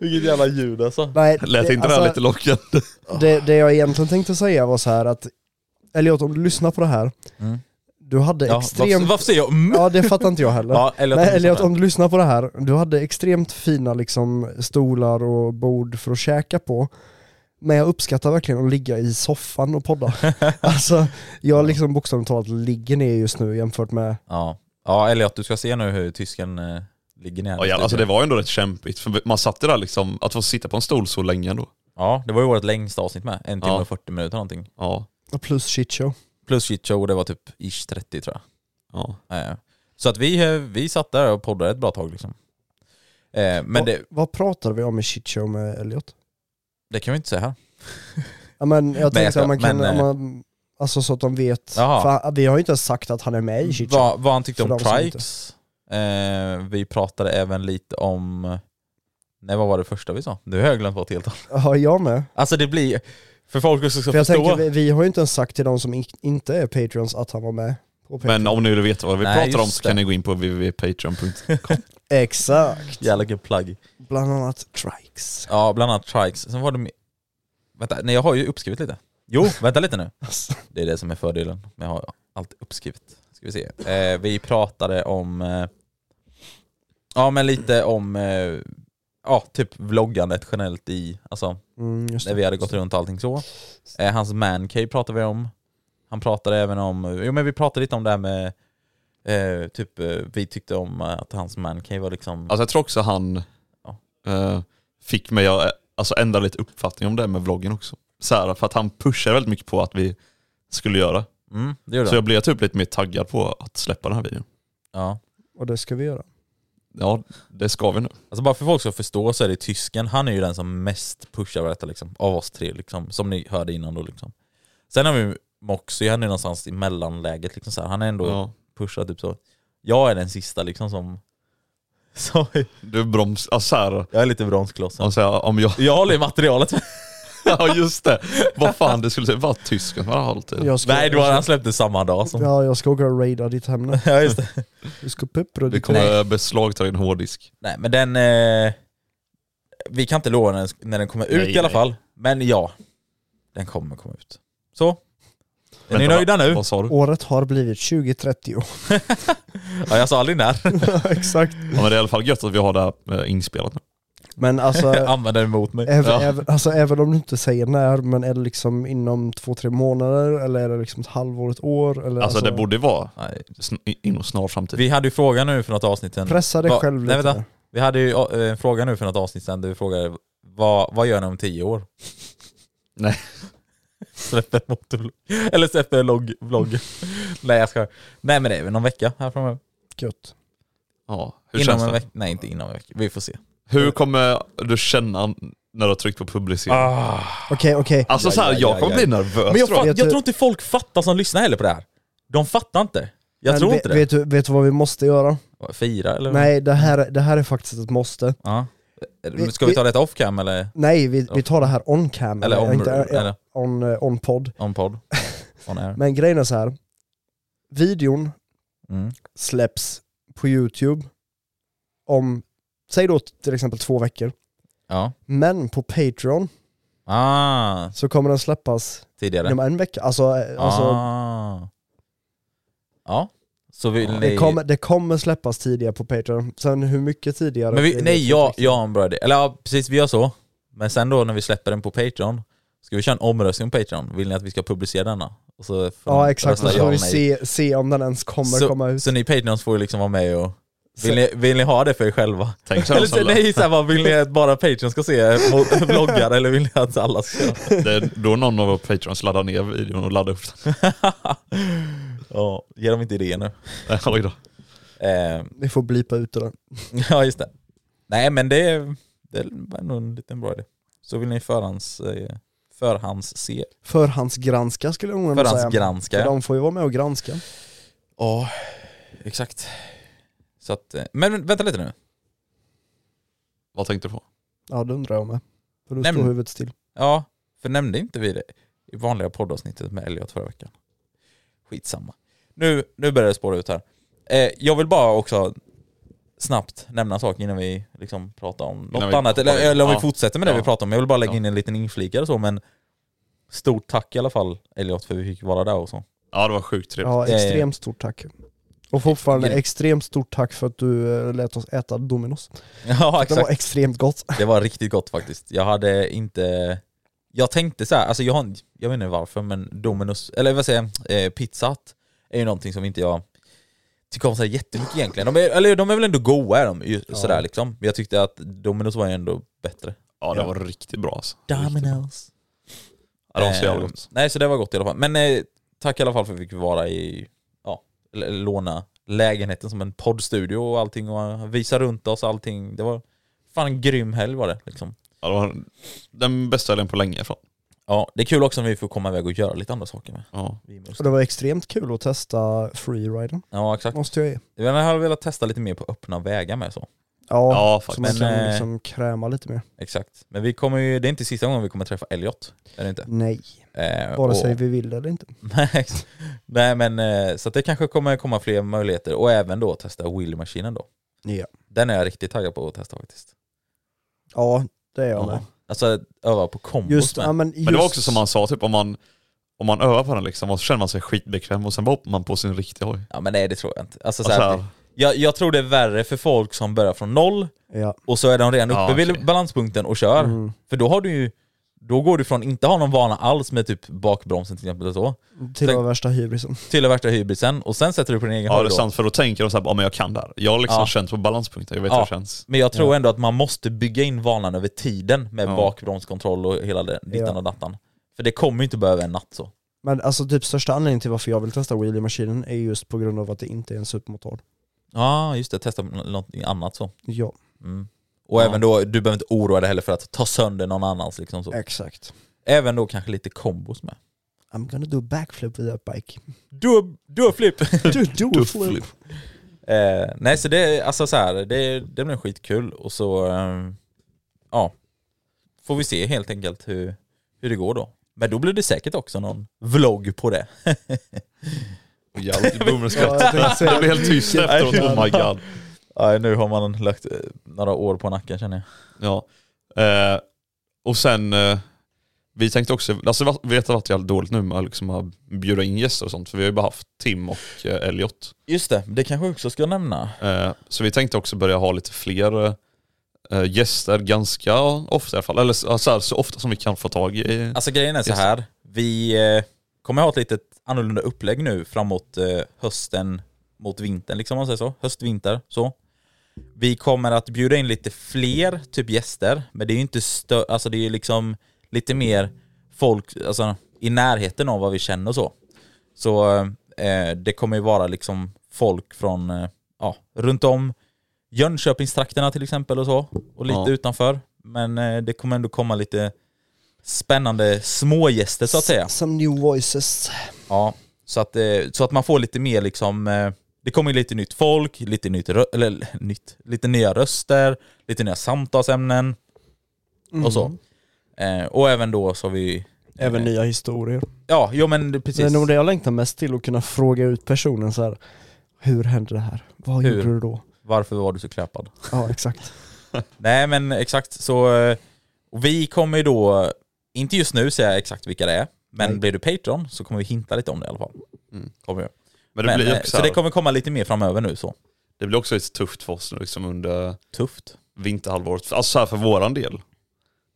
[SPEAKER 3] Vilket jävla ljud alltså.
[SPEAKER 4] Nej,
[SPEAKER 2] <laughs> <laughs> Lät
[SPEAKER 4] det- alltså,
[SPEAKER 2] inte det här lite lockande?
[SPEAKER 4] det, det jag egentligen tänkte säga var så här att, Elliot om du lyssnar på det här, du hade
[SPEAKER 3] Mm. Ja, varför,
[SPEAKER 4] extremt...
[SPEAKER 3] varför säger jag mm?
[SPEAKER 4] Ja det fattar inte jag heller.
[SPEAKER 3] Ja, Elliot, om
[SPEAKER 4] Nej
[SPEAKER 3] du
[SPEAKER 4] Elliot
[SPEAKER 3] lyssnar.
[SPEAKER 4] om du lyssnar på det här, du hade extremt fina liksom stolar och bord för att käka på. Men jag uppskattar verkligen att ligga i soffan
[SPEAKER 3] <laughs>
[SPEAKER 4] och podda. alltså jag liksom bokstavligt talat ligger ner just nu jämfört med
[SPEAKER 3] Ja. ja, Elliot du ska se nu hur tysken eh, ligger ner.
[SPEAKER 2] Ja, jävlar, alltså det var ju ändå rätt kämpigt. För man satt ju där liksom, att få sitta på en stol så länge ändå.
[SPEAKER 3] ja, det var ju vårt längsta avsnitt med. En timme
[SPEAKER 2] Ja.
[SPEAKER 3] och 40 minuter någonting.
[SPEAKER 2] Ja.
[SPEAKER 4] plus shitshow.
[SPEAKER 3] Plus shitshow, det var typ ish 30 tror jag.
[SPEAKER 2] ja.
[SPEAKER 3] Eh, Så att vi, eh, vi satt där och poddade ett bra tag liksom. Eh, Men
[SPEAKER 4] Vad-
[SPEAKER 3] det,
[SPEAKER 4] Vad pratade vi om i shitshow med Elliot?
[SPEAKER 3] det kan vi inte säga här.
[SPEAKER 4] Ja, men jag
[SPEAKER 3] jag
[SPEAKER 4] tänkte
[SPEAKER 3] ska-
[SPEAKER 4] att man kan,
[SPEAKER 3] men, eh,
[SPEAKER 4] om man, alltså så att de vet.
[SPEAKER 3] Jaha.
[SPEAKER 4] För vi har ju inte ens sagt att han är med i shitshow.
[SPEAKER 3] Vad, vad han tyckte
[SPEAKER 4] För
[SPEAKER 3] om
[SPEAKER 4] de som
[SPEAKER 3] trikes. Eh, Vi pratade även lite om... Nej vad var det första vi sa? Nu har jag glömt bort helt och hållet.
[SPEAKER 4] Ja, jag med.
[SPEAKER 3] Alltså det blir... För folk också ska
[SPEAKER 4] För jag
[SPEAKER 3] förstå.
[SPEAKER 4] tänker, vi, vi har ju inte ens sagt till de som in- inte är Patreons att han var med på Patreon.
[SPEAKER 2] Men om ni vill veta vad vi
[SPEAKER 3] Nej,
[SPEAKER 2] pratar om
[SPEAKER 3] just
[SPEAKER 2] så kan
[SPEAKER 3] det.
[SPEAKER 2] ni gå in på www.patreon.com.
[SPEAKER 3] <laughs>
[SPEAKER 4] Exakt.
[SPEAKER 3] Jävla good plug.
[SPEAKER 4] Bland annat Trikes.
[SPEAKER 3] Ja, bland annat trikes. Sen var det... mi- Vänta, nej jag har ju uppskrivit lite. Jo, vänta lite nu.
[SPEAKER 4] Alltså,
[SPEAKER 3] Det är det som är fördelen. Jag har allt uppskrivet. Ska vi se. Eh, vi pratade om... Eh, ja, men lite om... Eh, ja, typ vloggandet generellt i... Alltså,
[SPEAKER 4] Mm, just
[SPEAKER 3] när
[SPEAKER 4] det.
[SPEAKER 3] vi hade gått runt och allting så. Eh, hans mancave pratade vi om. Han pratade även om... Jo, men vi pratade lite om det här med... Eh, typ, eh, vi tyckte om eh, att hans mancave var liksom...
[SPEAKER 2] Alltså jag tror också han
[SPEAKER 3] Ja.
[SPEAKER 2] eh, fick mig att eh, alltså, ändra lite uppfattning om det här med vloggen också. Så här, för att han pushade väldigt mycket på att vi skulle göra.
[SPEAKER 3] Mm, det gjorde
[SPEAKER 2] Så
[SPEAKER 3] han.
[SPEAKER 2] jag blev typ lite mer taggad på att släppa den här videon.
[SPEAKER 3] Ja.
[SPEAKER 4] Och det ska vi göra.
[SPEAKER 2] Ja, det ska vi nu.
[SPEAKER 3] Alltså bara för folk ska förstå så är det tysken, han är ju den som mest pushar detta liksom, av oss tre liksom, som ni hörde innan då liksom. Sen har vi ju Moxie, han är någonstans i mellanläget liksom så här. han är ändå
[SPEAKER 2] Ja.
[SPEAKER 3] pushar typ så. Jag är den sista liksom som, <laughs> så,
[SPEAKER 2] Du broms, alltså så här,
[SPEAKER 3] jag är lite bromsklossen.
[SPEAKER 2] alltså, om
[SPEAKER 3] <laughs>
[SPEAKER 2] jag,
[SPEAKER 3] Jag håller i materialet.
[SPEAKER 2] ja just det. Vad fan det skulle vara tysken som hade hållit i.
[SPEAKER 4] Jag ska,
[SPEAKER 3] Nej det var han släppte samma dag som...
[SPEAKER 4] Ja, jag ska åka och raida ditt hem nu.
[SPEAKER 3] <laughs> Ja just det.
[SPEAKER 4] Du ska peppra
[SPEAKER 2] Vi
[SPEAKER 4] ditt hem.
[SPEAKER 2] kommer beslagta din hårddisk.
[SPEAKER 3] Nej men den, eh, vi kan inte lova när den, när den kommer ut
[SPEAKER 2] Nej,
[SPEAKER 3] i alla
[SPEAKER 2] nej.
[SPEAKER 3] fall. Men ja, den kommer komma ut. Så. Är ni
[SPEAKER 2] Vänta,
[SPEAKER 3] nöjda
[SPEAKER 2] vad-
[SPEAKER 3] nu?
[SPEAKER 2] Vad sa du?
[SPEAKER 4] Året har blivit 2030.
[SPEAKER 3] Ja, jag sa aldrig när.
[SPEAKER 4] <laughs> Exakt.
[SPEAKER 2] Ja, men det är i alla fall gött att vi har det här eh, inspelat nu.
[SPEAKER 3] <laughs>
[SPEAKER 4] Men alltså,
[SPEAKER 3] Använda den emot mig.
[SPEAKER 4] Även,
[SPEAKER 2] Ja.
[SPEAKER 4] även, alltså, även om du inte säger när, men är det liksom inom två, tre månader eller är det liksom ett halvår, ett år? Eller,
[SPEAKER 2] Alltså det borde vara
[SPEAKER 3] Nej.
[SPEAKER 2] sn- i- inom snar framtid.
[SPEAKER 3] Vi hade ju frågan nu för något avsnitt sedan.
[SPEAKER 4] Pressa dig
[SPEAKER 3] Va-
[SPEAKER 4] själv
[SPEAKER 3] Nej,
[SPEAKER 4] lite.
[SPEAKER 3] vänta. Vi hade ju eh, en fråga nu för något avsnitt sedan där vi frågade vad, vad gör ni om tio år? <laughs>
[SPEAKER 2] Nej.
[SPEAKER 3] Släpper motorvlogg. Eller släpper logg, vlogg. <laughs> Nej jag ska. Nej men det är väl någon vecka här framöver.
[SPEAKER 4] Gött.
[SPEAKER 2] Ja, hur
[SPEAKER 3] Inom
[SPEAKER 2] känns
[SPEAKER 3] en
[SPEAKER 2] det?
[SPEAKER 3] vecka. Nej inte inom en vecka. Vi får se.
[SPEAKER 2] Hur kommer du känna när du har tryckt på publicera?
[SPEAKER 4] Okej, okej.
[SPEAKER 2] Alltså
[SPEAKER 3] Ah, Ja,
[SPEAKER 2] så här,
[SPEAKER 3] ja,
[SPEAKER 2] jag
[SPEAKER 3] ja,
[SPEAKER 2] kommer
[SPEAKER 3] ja.
[SPEAKER 2] bli nervös.
[SPEAKER 3] Men jag,
[SPEAKER 2] tror
[SPEAKER 3] fatt,
[SPEAKER 2] jag.
[SPEAKER 3] jag
[SPEAKER 4] Vet du-
[SPEAKER 3] tror inte folk fattar som lyssnar heller på det här. De fattar inte. Jag
[SPEAKER 4] Men
[SPEAKER 3] tror
[SPEAKER 4] ve-
[SPEAKER 3] inte det.
[SPEAKER 4] Vet du, vet du vad vi måste göra?
[SPEAKER 3] Fira eller?
[SPEAKER 4] Nej, det här, det här är faktiskt ett måste.
[SPEAKER 3] Ja.
[SPEAKER 4] Vi-
[SPEAKER 3] Ska vi
[SPEAKER 4] vi-
[SPEAKER 3] ta detta off cam eller
[SPEAKER 4] Nej, vi, vi tar det här on cam.
[SPEAKER 3] Eller on-
[SPEAKER 4] inte,
[SPEAKER 3] eller?
[SPEAKER 4] on, eh, on podd.
[SPEAKER 3] on
[SPEAKER 4] <laughs>
[SPEAKER 3] podd? On air.
[SPEAKER 4] Men grejen är så här. videon
[SPEAKER 3] Mm.
[SPEAKER 4] släpps på YouTube om, säg då till exempel två veckor.
[SPEAKER 3] Ja.
[SPEAKER 4] Men på Patreon
[SPEAKER 3] Ah,
[SPEAKER 4] så kommer den släppas
[SPEAKER 3] tidigare.
[SPEAKER 4] inom en vecka. Alltså, eh, alltså
[SPEAKER 3] ah. Ja, så vill ni...
[SPEAKER 4] Det kommer, det kommer släppas tidigare på Patreon, sen hur mycket tidigare?
[SPEAKER 3] men
[SPEAKER 4] det
[SPEAKER 3] vi,
[SPEAKER 4] vet
[SPEAKER 3] nej,
[SPEAKER 4] vi
[SPEAKER 3] jag,
[SPEAKER 4] inte.
[SPEAKER 3] jag och en bra idé. Eller ja, precis, vi gör så. Men sen då när vi släpper den på Patreon, ska vi köra en omröstning på Patreon? Vill ni att vi ska publicera denna? Och så får
[SPEAKER 4] Ja
[SPEAKER 3] ni
[SPEAKER 4] exakt,
[SPEAKER 3] rösta
[SPEAKER 4] så
[SPEAKER 3] ja
[SPEAKER 4] får vi
[SPEAKER 3] och nej.
[SPEAKER 4] se, se om den ens kommer
[SPEAKER 3] så,
[SPEAKER 4] komma ut.
[SPEAKER 3] Så ni Patreons får ju liksom vara med och...
[SPEAKER 4] Så-
[SPEAKER 3] Vill ni, vill ni ha det för er själva?
[SPEAKER 2] Tänk så här,
[SPEAKER 3] Eller så,
[SPEAKER 2] Salla.
[SPEAKER 3] nej, så här, bara, vill ni att bara Patreon ska se mo- <laughs> vloggar eller vill ni att alla ska <laughs>
[SPEAKER 2] det är då någon av våra patrons laddar ner videon och laddar upp den.
[SPEAKER 3] Ja, ge dem inte idéer nu.
[SPEAKER 2] Nej, Oj då.
[SPEAKER 3] Eh,
[SPEAKER 4] Ni får blipa ut det där.
[SPEAKER 3] ja, just det. Nej, men det, det var nog en liten bra idé. Så vill ni förhands, eh, förhandsse,
[SPEAKER 4] Förhandsgranska skulle jag nog ändå säga.
[SPEAKER 3] förhandsgranska.
[SPEAKER 4] För de får ju vara med och granska.
[SPEAKER 3] Ja, exakt. Så att, eh, men vänta lite nu.
[SPEAKER 2] Vad tänkte du på?
[SPEAKER 4] Ja det undrar jag med. För då
[SPEAKER 3] Nej,
[SPEAKER 4] står
[SPEAKER 3] men-
[SPEAKER 4] huvudet still.
[SPEAKER 3] Ja, för nämnde inte vi det i vanliga poddavsnittet med Elliot förra veckan? Skitsamma. Nu, nu börjar det spåra ut här. Eh, jag vill bara också snabbt nämna saker innan vi liksom pratar om något
[SPEAKER 2] vi
[SPEAKER 3] annat, eller,
[SPEAKER 2] hoppar in.
[SPEAKER 3] eller om
[SPEAKER 2] Ja.
[SPEAKER 3] vi fortsätter med det
[SPEAKER 2] Ja.
[SPEAKER 3] vi pratar om. Jag vill bara lägga
[SPEAKER 2] Ja.
[SPEAKER 3] in en liten inflikare och så, men stort tack i alla fall Elliot för vi fick vara där och så.
[SPEAKER 2] Ja det var sjukt trevligt.
[SPEAKER 4] Ja
[SPEAKER 3] Det är-
[SPEAKER 4] extremt stort tack. Och fortfarande
[SPEAKER 3] Grymt.
[SPEAKER 4] extremt stort tack för att du eh, lät oss äta Dominos.
[SPEAKER 3] Ja,
[SPEAKER 4] Det var extremt gott. <laughs>
[SPEAKER 3] Det var riktigt gott faktiskt. Jag hade inte... Jag tänkte så här, alltså jag, har, jag vet inte varför men Dominus, eller vad säger jag, eh, Pizza Hut är ju någonting som inte jag tycker om så här jättemycket egentligen. De är, eller de är väl ändå goa är de ju sådär liksom. Men jag tyckte att Dominus var ju ändå bättre.
[SPEAKER 2] Ja det
[SPEAKER 3] Ja.
[SPEAKER 2] var riktigt bra alltså.
[SPEAKER 3] Dominus.
[SPEAKER 2] Ja, det var så jävla gott.
[SPEAKER 3] Eh, nej så det var gott i alla fall. Men eh, tack i alla fall för att vi fick vara i, ja, eller låna lägenheten som en poddstudio och allting och visa runt oss allting. Det var fan en grym helg var det liksom.
[SPEAKER 2] Ja, det var den bästa helgen på länge ifrån.
[SPEAKER 3] Ja, det är kul också när vi får komma iväg och göra lite andra saker med.
[SPEAKER 2] Ja.
[SPEAKER 4] Och det var extremt kul att testa freeriden,
[SPEAKER 3] Ja, exakt.
[SPEAKER 4] måste jag ge.
[SPEAKER 3] Jag hade velat testa lite mer på öppna vägar med så.
[SPEAKER 4] Ja,
[SPEAKER 2] Ja,
[SPEAKER 4] så
[SPEAKER 2] faktiskt.
[SPEAKER 4] man
[SPEAKER 3] men,
[SPEAKER 4] kan
[SPEAKER 3] eh,
[SPEAKER 4] liksom kräma lite mer.
[SPEAKER 3] Exakt. Men vi kommer ju, det är inte sista gången vi kommer träffa Elliot. Är det inte?
[SPEAKER 4] Nej,
[SPEAKER 3] Eh,
[SPEAKER 4] vare
[SPEAKER 3] och-
[SPEAKER 4] sig vi vill det eller inte.
[SPEAKER 3] <laughs> Nej, ex- Nej, men eh, så att det kanske kommer komma fler möjligheter. Och även då testa wheelmaskinen då.
[SPEAKER 4] Ja,
[SPEAKER 3] Den är jag riktigt taggad på att testa faktiskt.
[SPEAKER 4] ja det är jag
[SPEAKER 3] Ja.
[SPEAKER 4] med.
[SPEAKER 3] Alltså att öva på kombos
[SPEAKER 4] Just,
[SPEAKER 3] med.
[SPEAKER 4] ja, men just,
[SPEAKER 2] Men det var också som han sa, typ om man, om man övar på den liksom, och så känner man sig skitbekväm och sen bara hoppar man på sin riktiga hoj.
[SPEAKER 3] Ja men nej det tror jag inte. Alltså,
[SPEAKER 2] Och
[SPEAKER 3] så
[SPEAKER 2] så
[SPEAKER 3] här,
[SPEAKER 2] här-
[SPEAKER 3] jag, jag tror det är värre för folk som börjar från noll
[SPEAKER 4] Ja.
[SPEAKER 3] och så är de redan uppe
[SPEAKER 2] Ja,
[SPEAKER 3] vid
[SPEAKER 2] okej.
[SPEAKER 3] balanspunkten och kör.
[SPEAKER 4] Mm.
[SPEAKER 3] För då har du ju, då går du från inte ha någon vana alls med typ bakbromsen till exempel och så,
[SPEAKER 4] Till
[SPEAKER 3] Tänk-
[SPEAKER 4] och med värsta hybrisen.
[SPEAKER 3] till den värsta hybrisen och sen sätter du på din egen
[SPEAKER 2] Ja
[SPEAKER 3] hoj
[SPEAKER 2] det är
[SPEAKER 3] då.
[SPEAKER 2] sant, för då tänker de såhär, ja men jag kan det här. Jag har liksom
[SPEAKER 3] Ja.
[SPEAKER 2] känt på balanspunkten, jag vet
[SPEAKER 3] Ja.
[SPEAKER 2] hur det
[SPEAKER 3] <laughs>
[SPEAKER 2] känns.
[SPEAKER 3] Men jag tror ändå att man måste bygga in vanan över tiden med
[SPEAKER 2] Ja.
[SPEAKER 3] bakbromskontroll och hela det, dittan
[SPEAKER 4] Ja.
[SPEAKER 3] och dattan. För det kommer ju inte behöva en natt så.
[SPEAKER 4] Men alltså typ största anledningen till varför jag vill testa wheelie-maskinen är just på grund av att det inte är en supermotard.
[SPEAKER 3] Ja just det, testa någonting annat så.
[SPEAKER 4] Ja,
[SPEAKER 3] Mm. Och
[SPEAKER 2] Ja.
[SPEAKER 3] även då, du behöver inte oroa dig heller för att ta sönder någon annans liksom så.
[SPEAKER 4] exakt.
[SPEAKER 3] Även då kanske lite kombos med.
[SPEAKER 4] I'm gonna do a backflip with that bike.
[SPEAKER 3] Du, du flip! <laughs>
[SPEAKER 4] Do, do a flip.
[SPEAKER 3] Eh, nej, så det, alltså så här, det, det blir skitkul och så eh, ja, får vi se helt enkelt hur, hur det går då. Men då blir det säkert också någon vlogg på det.
[SPEAKER 2] Och Jävligt
[SPEAKER 4] Ja, jag tänkte
[SPEAKER 2] boomerskratt.
[SPEAKER 4] säga-
[SPEAKER 2] Det blev helt tyst efteråt, oh my god.
[SPEAKER 3] Nej, nu har man lagt eh, några år på nacken känner jag.
[SPEAKER 2] Ja. Eh, och sen, eh, vi tänkte också, alltså va- vet att det är dåligt nu med att liksom att bjuda in gäster och sånt, för vi har ju bara haft Tim och eh, Elliot.
[SPEAKER 3] Just det, det kanske jag också ska nämna.
[SPEAKER 2] Eh, så vi tänkte också börja ha lite fler eh, gäster ganska ofta i alla fall, eller så, så, här, så ofta som vi kan få tag i.
[SPEAKER 3] Alltså grejen är så
[SPEAKER 2] Eh, Just det.
[SPEAKER 3] här, vi eh, kommer ha ett litet annorlunda upplägg nu framåt eh, hösten mot vintern, liksom om man säger så. Höst-vinter, så. Vi kommer att bjuda in lite fler typ gäster, men det är ju inte stö- alltså det är ju liksom lite mer folk alltså, i närheten av vad vi känner och så. Så eh, det kommer ju vara liksom folk från, eh, ja, runt om Jönköpingstrakterna till exempel och så, och lite
[SPEAKER 2] Ja.
[SPEAKER 3] utanför. Men eh, det kommer ändå komma lite spännande smågäster så att säga.
[SPEAKER 4] Some new voices.
[SPEAKER 3] Ja, så att, eh, så att man får lite mer liksom, eh, det kommer ju lite nytt folk, lite, nytt, rö- eller, <laughs> nytt, lite nya röster, lite nya samtalsämnen och så. Eh, och även då så har vi...
[SPEAKER 4] Mm.
[SPEAKER 3] eh,
[SPEAKER 4] Även nya historier.
[SPEAKER 3] Ja, jo men precis.
[SPEAKER 4] Det är nog det jag längtar mest till, att kunna fråga ut personen så här. Hur hände det här? Vad
[SPEAKER 3] Hur?
[SPEAKER 4] gjorde du då?
[SPEAKER 3] Varför var du så kläpad?
[SPEAKER 4] Ja, exakt.
[SPEAKER 3] Nej men exakt, så eh, och vi kommer ju då, inte just nu säga exakt vilka det är, men
[SPEAKER 4] Nej.
[SPEAKER 3] blir du Patreon så kommer vi hinta lite om det i alla fall.
[SPEAKER 2] Mm.
[SPEAKER 3] Kommer vi.
[SPEAKER 2] Men det
[SPEAKER 3] Men,
[SPEAKER 2] blir
[SPEAKER 3] eh,
[SPEAKER 2] också, så
[SPEAKER 3] så det kommer komma lite mer framöver nu så.
[SPEAKER 2] det blir också lite tufft för oss nu liksom under
[SPEAKER 3] Tufft.
[SPEAKER 2] vinterhalvåret, alltså så här för våran del.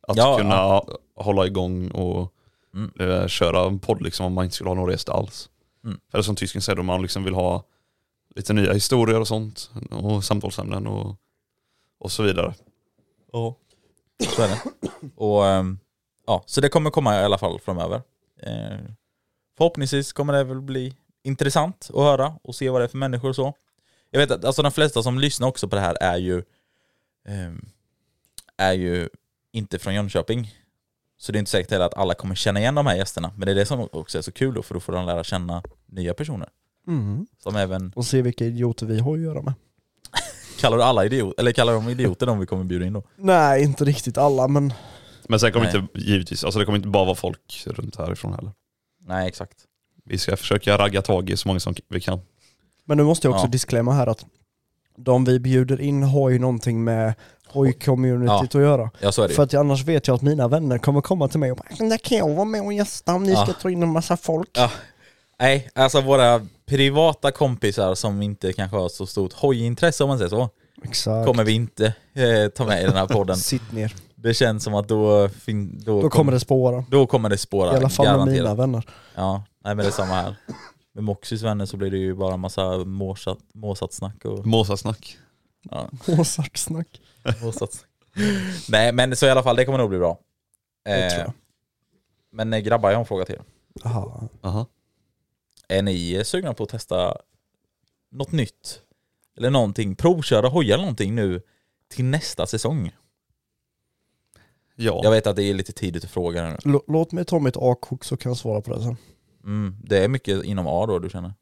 [SPEAKER 2] Att
[SPEAKER 3] Ja,
[SPEAKER 2] kunna hålla igång och
[SPEAKER 3] Mm.
[SPEAKER 2] eh, köra en podd liksom om man inte skulle ha någon resa alls.
[SPEAKER 3] Mm.
[SPEAKER 2] Eller som tysken säger, om man liksom vill ha lite nya historier och sånt och samtalsämnen och, och så vidare.
[SPEAKER 3] Ja. Så är det. Och, ehm, ja, så det kommer komma i alla fall framöver. Eh, Förhoppningsvis kommer det väl bli intressant att höra och se vad det är för människor och så. Jag vet att alltså, de flesta som lyssnar också på det här är ju, ehm, är ju inte från Jönköping. Så det är inte säkert heller att alla kommer känna igen de här gästerna. Men det är det som också är så kul då, för då får de lära känna nya personer.
[SPEAKER 4] Mm.
[SPEAKER 3] Som även,
[SPEAKER 4] Och se vilka idioter vi har att göra med.
[SPEAKER 3] kallar du alla idioter, eller kallar de idioter de vi kommer bjuda in då?
[SPEAKER 4] Nej, inte riktigt alla, men
[SPEAKER 2] Men sen kommer
[SPEAKER 3] Nej.
[SPEAKER 2] inte, givetvis, alltså det kommer inte bara vara folk runt härifrån heller.
[SPEAKER 3] Nej exakt.
[SPEAKER 2] Vi ska försöka ragga tag i så många som vi kan.
[SPEAKER 4] Men nu måste jag också
[SPEAKER 3] Ja.
[SPEAKER 4] disclaima här att de vi bjuder in har ju någonting med hoj-communityt
[SPEAKER 3] Ja.
[SPEAKER 4] att göra.
[SPEAKER 3] Ja så är det ju.
[SPEAKER 4] För att jag- annars vet jag att mina vänner kommer komma till mig och bara "Där kan jag vara med och gästa om ni
[SPEAKER 3] Ja.
[SPEAKER 4] ska ta in en massa folk.
[SPEAKER 3] Ja. Nej, alltså våra privata kompisar som inte kanske har så stort hojintresse om man säger så,
[SPEAKER 4] Exakt.
[SPEAKER 3] kommer vi inte eh, ta med i den här
[SPEAKER 4] <laughs>
[SPEAKER 3] podden.
[SPEAKER 4] Sitt ner.
[SPEAKER 3] Det känns som att då, fin-
[SPEAKER 4] Då kommer det spåra.
[SPEAKER 3] då kommer det spåra.
[SPEAKER 4] I alla fall med
[SPEAKER 3] garanterat.
[SPEAKER 4] mina vänner. <laughs>
[SPEAKER 3] Ja, nej men det är samma här. Med Moxys vänner så blir det ju bara massa måsat, måsat snack och
[SPEAKER 2] Måsasnack.
[SPEAKER 3] ja,
[SPEAKER 4] <laughs> Mozart-snack.
[SPEAKER 3] måsat snack. Nej men så i alla fall, det kommer nog bli bra. Eh.
[SPEAKER 4] Det tror jag.
[SPEAKER 3] men eh, grabbar, jag har en fråga till er.
[SPEAKER 4] Aha.
[SPEAKER 2] Aha.
[SPEAKER 3] Är ni eh, sugna på att testa något nytt? Eller någonting, provköra hojar eller någonting nu till nästa säsong?
[SPEAKER 2] Ja.
[SPEAKER 3] Jag vet att det är lite tidigt att fråga nu.
[SPEAKER 4] Lå- Låt mig ta mitt A-kort så kan jag svara på det sen.
[SPEAKER 3] Mm, det är mycket inom A då du känner?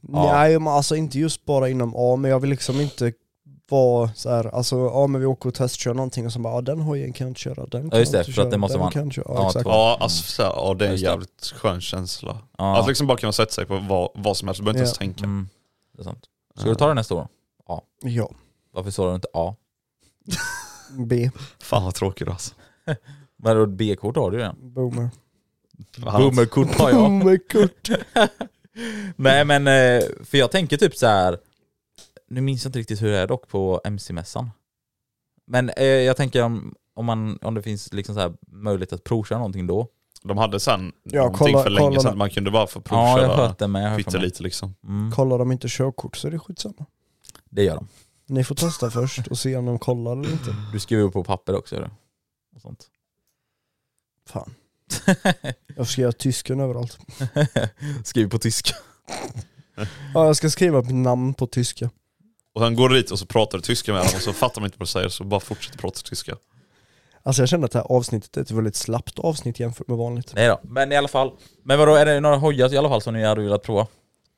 [SPEAKER 3] Ja.
[SPEAKER 4] Nej, men alltså inte just bara inom A, men jag vill liksom inte vara så här, alltså ja men vi åker och testkör någonting och så bara ja den hojen kan jag inte köra, den kan
[SPEAKER 3] just
[SPEAKER 4] jag
[SPEAKER 3] det,
[SPEAKER 4] inte
[SPEAKER 3] för att
[SPEAKER 4] köra,
[SPEAKER 3] det måste
[SPEAKER 4] den
[SPEAKER 3] vara en-
[SPEAKER 4] kan jag inte köra.
[SPEAKER 3] ja,
[SPEAKER 4] Ja, exakt.
[SPEAKER 3] två.
[SPEAKER 2] Ja, alltså, så här, ja, det är en
[SPEAKER 3] Just det.
[SPEAKER 2] jävligt skön känsla.
[SPEAKER 3] Ja.
[SPEAKER 2] Att liksom bara kunna sätta sig på vad, vad som helst, du behöver inte ens tänka.
[SPEAKER 3] mm, det är sant. Ska du ta det nästa år?
[SPEAKER 4] Ja,
[SPEAKER 3] Varför sa du inte A?
[SPEAKER 4] B,
[SPEAKER 2] Fan vad tråkigt alltså.
[SPEAKER 3] Men då B-kort har du ju <laughs> redan.
[SPEAKER 4] boomer. Oh
[SPEAKER 3] Boomerkort har jag.
[SPEAKER 4] Boomerkort.
[SPEAKER 3] <laughs> Nej men, eh, för jag tänker typ så här. nu minns jag inte riktigt hur det är dock på MC-mässan. Men eh, jag tänker om, om, man, om det finns liksom så här möjlighet att provköra någonting då.
[SPEAKER 2] De hade sen
[SPEAKER 4] Ja,
[SPEAKER 2] någonting
[SPEAKER 4] kolla-
[SPEAKER 2] för länge
[SPEAKER 4] kolla
[SPEAKER 2] sedan
[SPEAKER 4] nu.
[SPEAKER 2] man kunde bara få
[SPEAKER 3] Ja, jag har
[SPEAKER 2] provköra
[SPEAKER 3] hört det med. Jag har hört det, med.
[SPEAKER 2] pyttelite liksom.
[SPEAKER 3] Mm,
[SPEAKER 4] Kollar de inte körkort så är det skitsamma.
[SPEAKER 3] det gör de.
[SPEAKER 4] Ni får testa först och se om de kollar eller inte.
[SPEAKER 3] Du skriver ju på papper också. gör du? Och sånt. <laughs>
[SPEAKER 4] Fan, jag ska göra tysken överallt.
[SPEAKER 3] Skriv på tyska.
[SPEAKER 4] Ja, jag ska skriva mitt namn på tyska.
[SPEAKER 2] Och sen går du dit och så pratar du tyska med dem och så fattar man inte vad du säger så bara fortsätter prata tyska.
[SPEAKER 4] Alltså jag känner att det här avsnittet är ett väldigt slappt avsnitt jämfört med vanligt.
[SPEAKER 3] Nej då, men i alla fall. Men vadå, är det några hojar i alla fall som ni hade velat prova?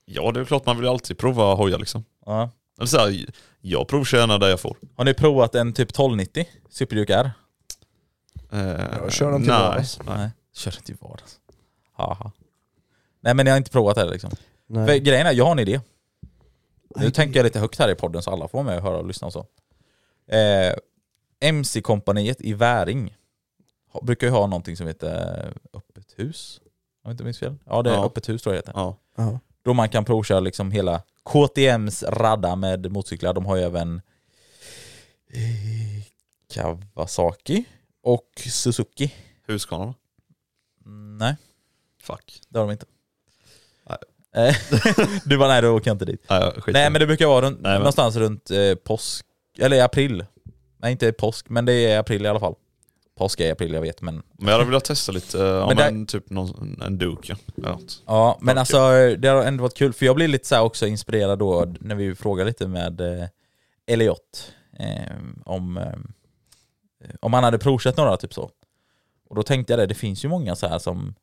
[SPEAKER 2] Ja, det är klart man vill ju alltid prova hoja liksom.
[SPEAKER 3] Ja.
[SPEAKER 2] Eller så här, jag provkörnar där jag får.
[SPEAKER 3] Har ni provat en typ 1290 Superduke R?
[SPEAKER 2] Eh,
[SPEAKER 4] Jag kör den till
[SPEAKER 2] nej.
[SPEAKER 4] vardags.
[SPEAKER 3] Nej. Kör inte i vardags. Haha. Nej men jag har inte provat heller liksom. För
[SPEAKER 4] Nej.
[SPEAKER 3] grejen är, jag har en idé. Nu
[SPEAKER 4] Nej.
[SPEAKER 3] tänker jag lite högt här i podden så alla får vara med och höra och lyssna och så. Eh, MC-kompaniet i Väring har- brukar ju ha någonting som heter eh, öppet hus. Om jag inte minns fel. Ja det är
[SPEAKER 2] Ja.
[SPEAKER 3] öppet hus tror jag det heter.
[SPEAKER 2] Ja.
[SPEAKER 4] Ja.
[SPEAKER 3] Då man kan provköra liksom hela KTMs radda med motorcyklar. De har ju även eh, Kawasaki och Suzuki.
[SPEAKER 2] Husqvarna?
[SPEAKER 3] Mm, Nej,
[SPEAKER 2] Fuck.
[SPEAKER 3] det har de inte.
[SPEAKER 2] Nej.
[SPEAKER 3] Eh, <laughs> du bara nej, då åker jag inte dit.
[SPEAKER 2] Nej, skit
[SPEAKER 3] Nej men det brukar vara runt,
[SPEAKER 2] Nej, men-
[SPEAKER 3] någonstans runt eh, påsk, eller i april. Nej inte påsk, men det är april i alla fall. Påsk är i april, jag vet men...
[SPEAKER 2] men jag hade velat testa lite, eh, ja,
[SPEAKER 3] Men
[SPEAKER 2] men
[SPEAKER 3] där-
[SPEAKER 2] typ någon, en Duke ja. Eller något.
[SPEAKER 3] Ja men
[SPEAKER 2] Okej.
[SPEAKER 3] alltså det har ändå varit kul, för jag blir lite så här också inspirerad då när vi frågar lite med eh, Elliot eh, om, eh, om han hade provkört några typ så. Och då tänkte jag det, det finns ju många så här som...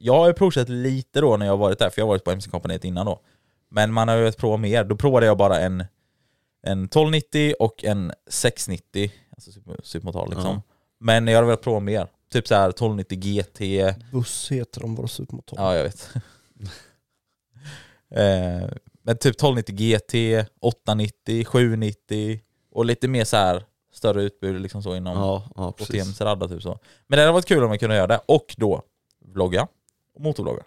[SPEAKER 3] Jag har ju provkört lite då när jag har varit där, för jag har varit på MC-kompaniet innan då. Men man har ju att prova mer. Då provade jag bara en, en 1290 och en 690, alltså super- supermotal liksom.
[SPEAKER 2] Ja.
[SPEAKER 3] Men jag hade velat prova mer. Typ så här 1290 GT,
[SPEAKER 4] Buss heter de, vår supermotor.
[SPEAKER 3] Ja, jag vet. <laughs> eh, men typ 1290 GT, 890, 790 och lite mer så här större utbud liksom så inom
[SPEAKER 2] Ja, ja precis.
[SPEAKER 3] KTMs radda typ så. Men det hade varit kul om man kunde göra det och då vlogga och motorvlogga.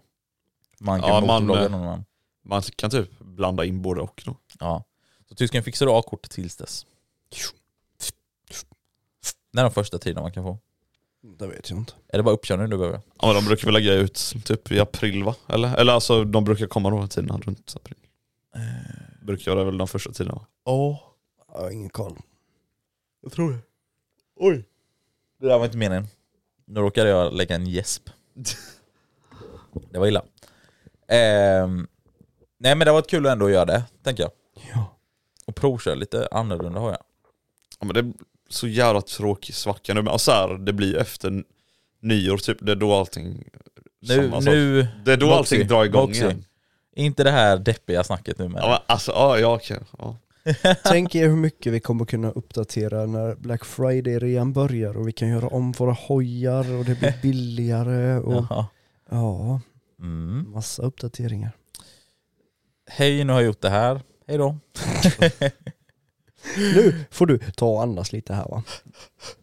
[SPEAKER 3] Man kan
[SPEAKER 2] Ja, man,
[SPEAKER 3] motorvlogga
[SPEAKER 2] eh,
[SPEAKER 3] någon annan.
[SPEAKER 2] Man kan typ blanda in både och då.
[SPEAKER 3] Ja. Så tysken fixar du A-kort tills dess. När de första tiden man kan få.
[SPEAKER 4] Det vet jag inte.
[SPEAKER 3] Är det bara uppkörning du behöver?
[SPEAKER 2] Ja men de brukar väl lägga ut typ i april va? Eller, eller alltså de brukar komma de här tiderna runt april.
[SPEAKER 3] Eh.
[SPEAKER 2] Brukar vara väl de första tiderna va?
[SPEAKER 4] Ja. Jag har ingen koll.
[SPEAKER 3] Jag tror det. Oj. Det där var inte meningen. Nu
[SPEAKER 2] <laughs>
[SPEAKER 3] råkade jag lägga en gäsp. Det var illa. Ehm, Nej men det har varit kul ändå att göra det, tänker jag.
[SPEAKER 4] Ja.
[SPEAKER 3] Och provköra lite annorlunda har jag.
[SPEAKER 2] Ja, men det är så jävla tråkig svacka nu. Men alltså, så här, det blir efter n- nyår typ, det är då allting...
[SPEAKER 3] Nu,
[SPEAKER 2] samma sak.
[SPEAKER 3] nu,
[SPEAKER 2] det är då
[SPEAKER 3] Moxie,
[SPEAKER 2] allting drar igång
[SPEAKER 3] Moxie.
[SPEAKER 2] igen.
[SPEAKER 3] inte det här deppiga snacket nu men.
[SPEAKER 2] Ja, men alltså, ja, ja okej. Ja.
[SPEAKER 4] Tänk er hur mycket vi kommer kunna uppdatera när Black Friday redan börjar och vi kan göra om våra hojar och det blir billigare och
[SPEAKER 3] Jaha.
[SPEAKER 4] ja,
[SPEAKER 3] Mm.
[SPEAKER 4] massa uppdateringar.
[SPEAKER 3] Hej, nu har jag gjort det här. Hej då.
[SPEAKER 4] Nu får du ta och andas lite här va?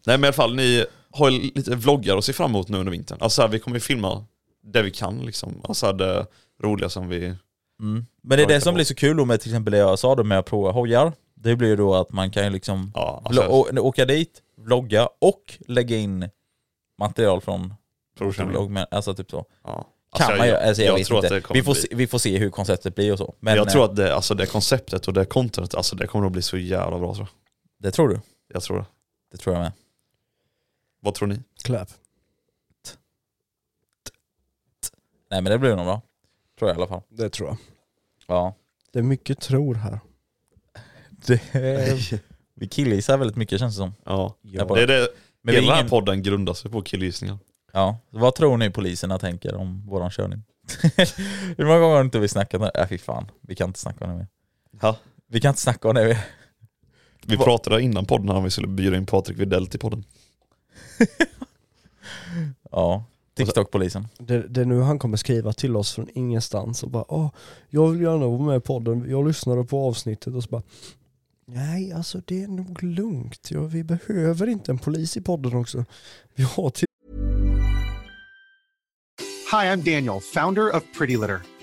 [SPEAKER 2] Nej men i alla fall, ni har ju lite vloggar att se fram emot nu under vintern. Alltså så här, vi kommer ju filma det vi kan liksom. Alltså så här, det roliga som vi...
[SPEAKER 3] Mm. Men det är
[SPEAKER 2] Ja,
[SPEAKER 3] det
[SPEAKER 2] inte
[SPEAKER 3] som
[SPEAKER 2] bra.
[SPEAKER 3] blir så kul då med till exempel det jag sa då med att prova hojar. Det blir ju då att man kan ju liksom
[SPEAKER 2] Ja, alltså,
[SPEAKER 3] vlo- å- åka dit, vlogga och lägga in material från
[SPEAKER 2] provkörning.
[SPEAKER 3] vlogg. Men, alltså typ så.
[SPEAKER 2] Ja.
[SPEAKER 3] Kan
[SPEAKER 2] Alltså,
[SPEAKER 3] man ju, alltså jag,
[SPEAKER 2] jag
[SPEAKER 3] vet
[SPEAKER 2] tror
[SPEAKER 3] inte.
[SPEAKER 2] att det kommer
[SPEAKER 3] vi, får
[SPEAKER 2] bli-
[SPEAKER 3] se, vi får se hur konceptet blir och så. Men eh,
[SPEAKER 2] jag tror att det, alltså, det konceptet och det contentet, alltså det kommer att bli så jävla bra tror jag.
[SPEAKER 3] eh, det tror du.
[SPEAKER 2] Jag tror det.
[SPEAKER 3] Det tror jag med.
[SPEAKER 2] Vad tror ni?
[SPEAKER 4] Clap.
[SPEAKER 3] Nej men det blir nog bra. Tror jag i alla fall.
[SPEAKER 4] Det tror jag.
[SPEAKER 3] Ja.
[SPEAKER 4] Det är mycket tror här.
[SPEAKER 3] <laughs> vi killgissar väldigt mycket känns det som.
[SPEAKER 2] Ja.
[SPEAKER 3] Ja.
[SPEAKER 2] Det är det,
[SPEAKER 3] Men
[SPEAKER 2] hela
[SPEAKER 3] vi är
[SPEAKER 2] den
[SPEAKER 3] ingen-
[SPEAKER 2] här podden grundar sig på killgissningar.
[SPEAKER 3] Ja, vad tror ni poliserna tänker om våran körning? <laughs> Hur många gånger har inte vi snackat om det? Äh, fy fan, vi kan inte snacka om det mer.
[SPEAKER 2] Ja.
[SPEAKER 3] Vi kan inte snacka om det mer.
[SPEAKER 2] Vi
[SPEAKER 3] Va-
[SPEAKER 2] pratade innan podden om vi skulle bjuda in Patrik Widell till podden.
[SPEAKER 3] Ja, TikTok-polisen.
[SPEAKER 4] Det, det är nu han kommer skriva till oss från ingenstans och bara Åh, jag vill gärna vara med i podden, jag lyssnade på avsnittet och så bara Nej alltså det är nog lugnt, ja, vi behöver inte en polis i podden också. Vi har
[SPEAKER 5] Hi, I'm Daniel, founder of Pretty Litter.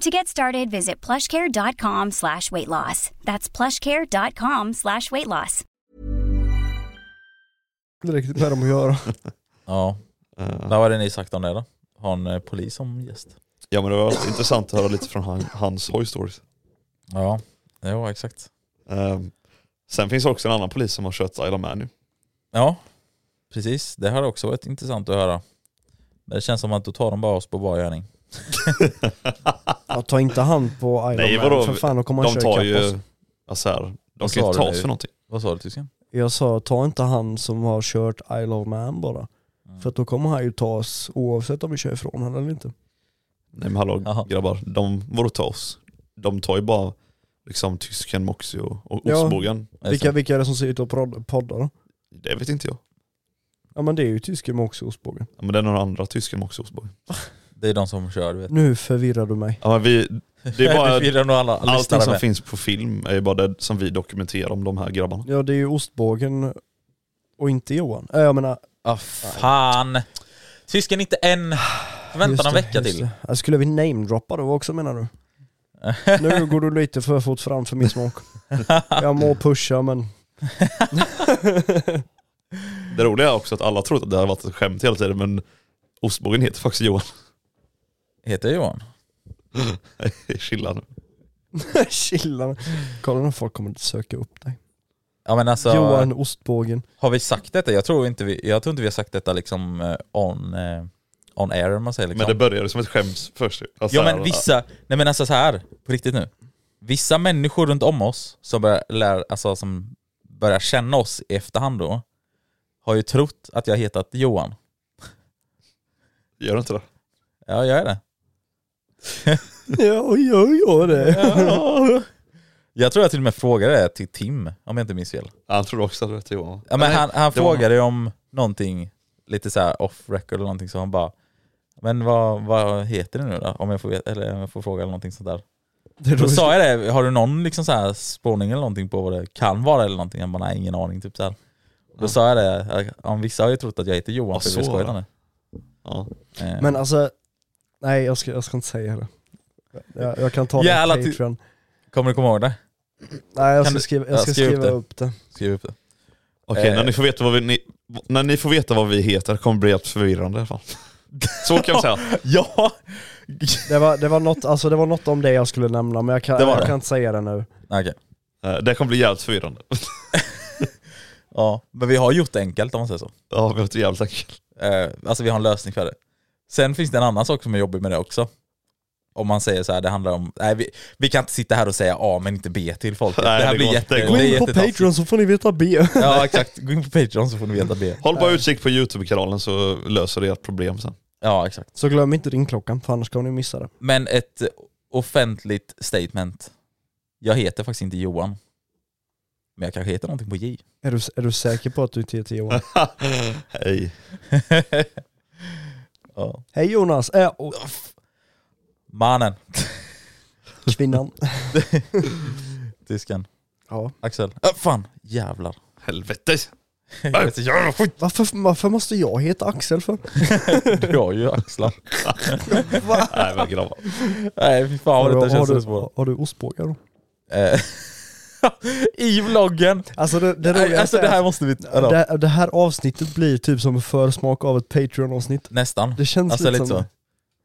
[SPEAKER 1] To get started, visit plushcare.com slash weight loss. That's plushcare.com slash weight loss.
[SPEAKER 4] tillräckligt med dem
[SPEAKER 2] <laughs>
[SPEAKER 4] att göra.
[SPEAKER 3] Ja,
[SPEAKER 2] Eh,
[SPEAKER 3] vad hade ni sagt om det då? Har en eh, polis som gäst?
[SPEAKER 2] Ja men det var <laughs> intressant att höra lite från han, hans Hoy Stories.
[SPEAKER 3] Ja, ja exakt.
[SPEAKER 2] Eh, Sen finns det också en annan polis som har kört Isle of Man nu.
[SPEAKER 3] Ja, precis. Det hade också varit intressant att höra. Men det känns som att då tar de bara oss på bar gärning.
[SPEAKER 4] Ja, ta inte hand på Iron
[SPEAKER 2] Nej,
[SPEAKER 4] Man
[SPEAKER 2] vadå?
[SPEAKER 4] för fan, då kommer han
[SPEAKER 2] De tar
[SPEAKER 4] köra ikapp
[SPEAKER 2] ju,
[SPEAKER 4] oss.
[SPEAKER 2] alltså här, de
[SPEAKER 3] Vad
[SPEAKER 2] kan ju
[SPEAKER 3] sa
[SPEAKER 2] inte ta
[SPEAKER 3] du
[SPEAKER 2] oss
[SPEAKER 3] nu?
[SPEAKER 2] för någonting.
[SPEAKER 3] Vad sa du tysken?
[SPEAKER 4] Jag sa ta inte han som har kört Isle of Man bara.
[SPEAKER 2] Mm.
[SPEAKER 4] För att då kommer han ju ta oss oavsett om vi kör ifrån honom eller inte.
[SPEAKER 2] Nej men hallå
[SPEAKER 3] Jaha.
[SPEAKER 2] grabbar, de, vadå ta oss? De tar ju bara liksom tysken, Moxie och, och
[SPEAKER 4] Ja.
[SPEAKER 2] ostbågen.
[SPEAKER 4] Vilka, vilka är det som sitter och prod- poddar då?
[SPEAKER 2] Det vet inte jag.
[SPEAKER 4] Ja men det är ju tysken med också ostbågen.
[SPEAKER 2] Ja, men det är några andra tysken, Moxie och ostbågen.
[SPEAKER 3] Det är de som kör du vet.
[SPEAKER 4] Nu förvirrar du mig.
[SPEAKER 2] Ja, men vi, det
[SPEAKER 3] <laughs>
[SPEAKER 2] är bara,
[SPEAKER 3] Vi firar nog alla,
[SPEAKER 2] allting
[SPEAKER 3] lyssnare
[SPEAKER 2] som
[SPEAKER 3] med.
[SPEAKER 2] finns på film är ju bara det som vi dokumenterar om de här grabbarna.
[SPEAKER 4] Ja det är ju ostbågen och inte Johan. Äh, jag menar...
[SPEAKER 3] Ah, fan! Tysken inte än. Vänta
[SPEAKER 4] just
[SPEAKER 3] någon
[SPEAKER 4] det,
[SPEAKER 3] vecka
[SPEAKER 4] just
[SPEAKER 3] till.
[SPEAKER 4] det. Ja, Skulle vi namedroppa då också
[SPEAKER 3] <laughs>
[SPEAKER 4] menar du? Nu går du lite för fort fram för min smak. Jag må pusha men... <laughs>
[SPEAKER 2] Det roliga är också att alla tror att det har varit ett skämt hela tiden men ostbågen heter faktiskt Johan. <laughs>
[SPEAKER 3] Heter jag Johan?
[SPEAKER 2] Chilla nu.
[SPEAKER 4] Chilla. Kolla när folk kommer att söka upp dig.
[SPEAKER 3] Ja men alltså,
[SPEAKER 4] Johan Ostbågen.
[SPEAKER 3] har vi sagt detta? Jag tror inte vi, jag tror inte vi har sagt detta liksom eh, on, eh, on air om man säger liksom.
[SPEAKER 2] Men det började som ett skämt först. Alltså,
[SPEAKER 3] ja
[SPEAKER 2] här,
[SPEAKER 3] men vissa, nej men alltså så här på riktigt nu. Vissa människor runt om oss som börjar, lär, alltså, som börjar känna oss i efterhand då, har ju trott att jag hetat Johan.
[SPEAKER 2] Gör inte det?
[SPEAKER 3] Ja jag
[SPEAKER 2] <laughs>
[SPEAKER 3] är det.
[SPEAKER 4] Ja, jag gör det.
[SPEAKER 3] Jag tror jag till och med frågade det till Tim, om jag inte minns fel.
[SPEAKER 2] Ja, Han trodde också att det hette Johan.
[SPEAKER 3] Ja, men
[SPEAKER 2] Nej,
[SPEAKER 3] han han
[SPEAKER 2] det var-
[SPEAKER 3] frågade ju om någonting lite så här off record eller någonting så han bara Men vad, vad heter det nu då? Om jag får, veta, eller om jag får fråga eller någonting sånt där.
[SPEAKER 4] Det
[SPEAKER 3] Då sa jag det, har du någon liksom så här spåning eller någonting på vad det kan vara eller någonting? Han bara nej, ingen aning. Typ så här. Då sa jag det, eh, om vissa har ju trott att jag heter Johan
[SPEAKER 2] Ja,
[SPEAKER 3] för att vi
[SPEAKER 2] så.
[SPEAKER 3] skojade nu.
[SPEAKER 2] Ja.
[SPEAKER 3] Eh,
[SPEAKER 4] Men alltså, nej jag ska, jag ska inte säga det. Jag, jag kan ta
[SPEAKER 3] Jävla
[SPEAKER 4] det
[SPEAKER 3] ty-
[SPEAKER 4] på Patreon.
[SPEAKER 3] Kommer du komma ihåg det?
[SPEAKER 4] Nej jag
[SPEAKER 3] Kan
[SPEAKER 4] ska
[SPEAKER 3] du-
[SPEAKER 4] skriva, jag
[SPEAKER 3] ja,
[SPEAKER 4] ska
[SPEAKER 3] skriv upp
[SPEAKER 4] skriva
[SPEAKER 3] det.
[SPEAKER 4] upp det.
[SPEAKER 3] Skriv upp det.
[SPEAKER 2] Okej,
[SPEAKER 3] Eh.
[SPEAKER 2] när, ni får veta vad vi, ni, när ni får veta vad vi heter kommer det bli helt förvirrande i
[SPEAKER 3] <laughs>
[SPEAKER 2] alla fall. Så kan jag säga.
[SPEAKER 3] Ja!
[SPEAKER 4] Det var, det, var något, alltså, det var något om det jag skulle nämna men jag kan,
[SPEAKER 3] Det var
[SPEAKER 4] jag
[SPEAKER 3] det.
[SPEAKER 4] kan inte säga det nu.
[SPEAKER 3] Nej, Okej.
[SPEAKER 2] Eh, Det kommer bli jävligt förvirrande.
[SPEAKER 3] Ja, men vi har gjort det enkelt om man säger så.
[SPEAKER 2] Ja, vi har inte jävligt enkelt.
[SPEAKER 3] Eh, alltså vi har en lösning för det. Sen finns det en annan sak som är jobbig med det också. Om man säger så här, det handlar om, nej vi, vi kan inte sitta här och säga A men inte B till folk.
[SPEAKER 2] Nej,
[SPEAKER 3] det här
[SPEAKER 2] det
[SPEAKER 3] blir
[SPEAKER 2] går
[SPEAKER 3] jätte,
[SPEAKER 2] inte.
[SPEAKER 3] det
[SPEAKER 2] Gå
[SPEAKER 4] Gå
[SPEAKER 2] in
[SPEAKER 3] är
[SPEAKER 4] in på
[SPEAKER 3] jättetafsigt.
[SPEAKER 4] Patreon så får ni veta B.
[SPEAKER 3] Ja exakt, gå in på Patreon så får ni veta B.
[SPEAKER 2] Håll bara utkik på YouTube-kanalen så löser det ert problem sen.
[SPEAKER 3] Ja exakt.
[SPEAKER 4] Så glöm inte ringklockan för annars kommer ni missa det.
[SPEAKER 3] Men ett offentligt statement. Jag heter faktiskt inte Johan. Men jag kanske heter någonting på J.
[SPEAKER 4] Är du, är du säker på att du inte heter Johan?
[SPEAKER 2] <laughs> Hej.
[SPEAKER 3] ja.
[SPEAKER 4] Hej Jonas! Äh, och
[SPEAKER 3] Mannen,
[SPEAKER 4] kvinnan.
[SPEAKER 3] tysken,
[SPEAKER 4] Ja.
[SPEAKER 3] Axel. Äh, fan, jävlar.
[SPEAKER 2] Helvete.
[SPEAKER 3] Jag vet inte, jävla skit.
[SPEAKER 4] Varför, varför måste jag heta Axel för?
[SPEAKER 3] Du har ju axlar.
[SPEAKER 4] Va?
[SPEAKER 2] Nej men grabbar.
[SPEAKER 3] Nej fy fan
[SPEAKER 4] Har,
[SPEAKER 3] vad
[SPEAKER 4] du,
[SPEAKER 3] detta känns
[SPEAKER 4] har,
[SPEAKER 3] som
[SPEAKER 4] du,
[SPEAKER 3] ett spår.
[SPEAKER 4] har du ostbågar då?
[SPEAKER 3] Eh, I vloggen!
[SPEAKER 4] Alltså det, det
[SPEAKER 3] Nej,
[SPEAKER 4] roligaste
[SPEAKER 3] alltså det
[SPEAKER 4] är
[SPEAKER 3] här
[SPEAKER 4] att
[SPEAKER 3] måste vi... Eller,
[SPEAKER 4] det, det här avsnittet blir typ som en försmak av ett Patreon-avsnitt.
[SPEAKER 3] nästan.
[SPEAKER 4] Det känns
[SPEAKER 3] Alltså
[SPEAKER 4] lite,
[SPEAKER 3] lite
[SPEAKER 4] som
[SPEAKER 3] så.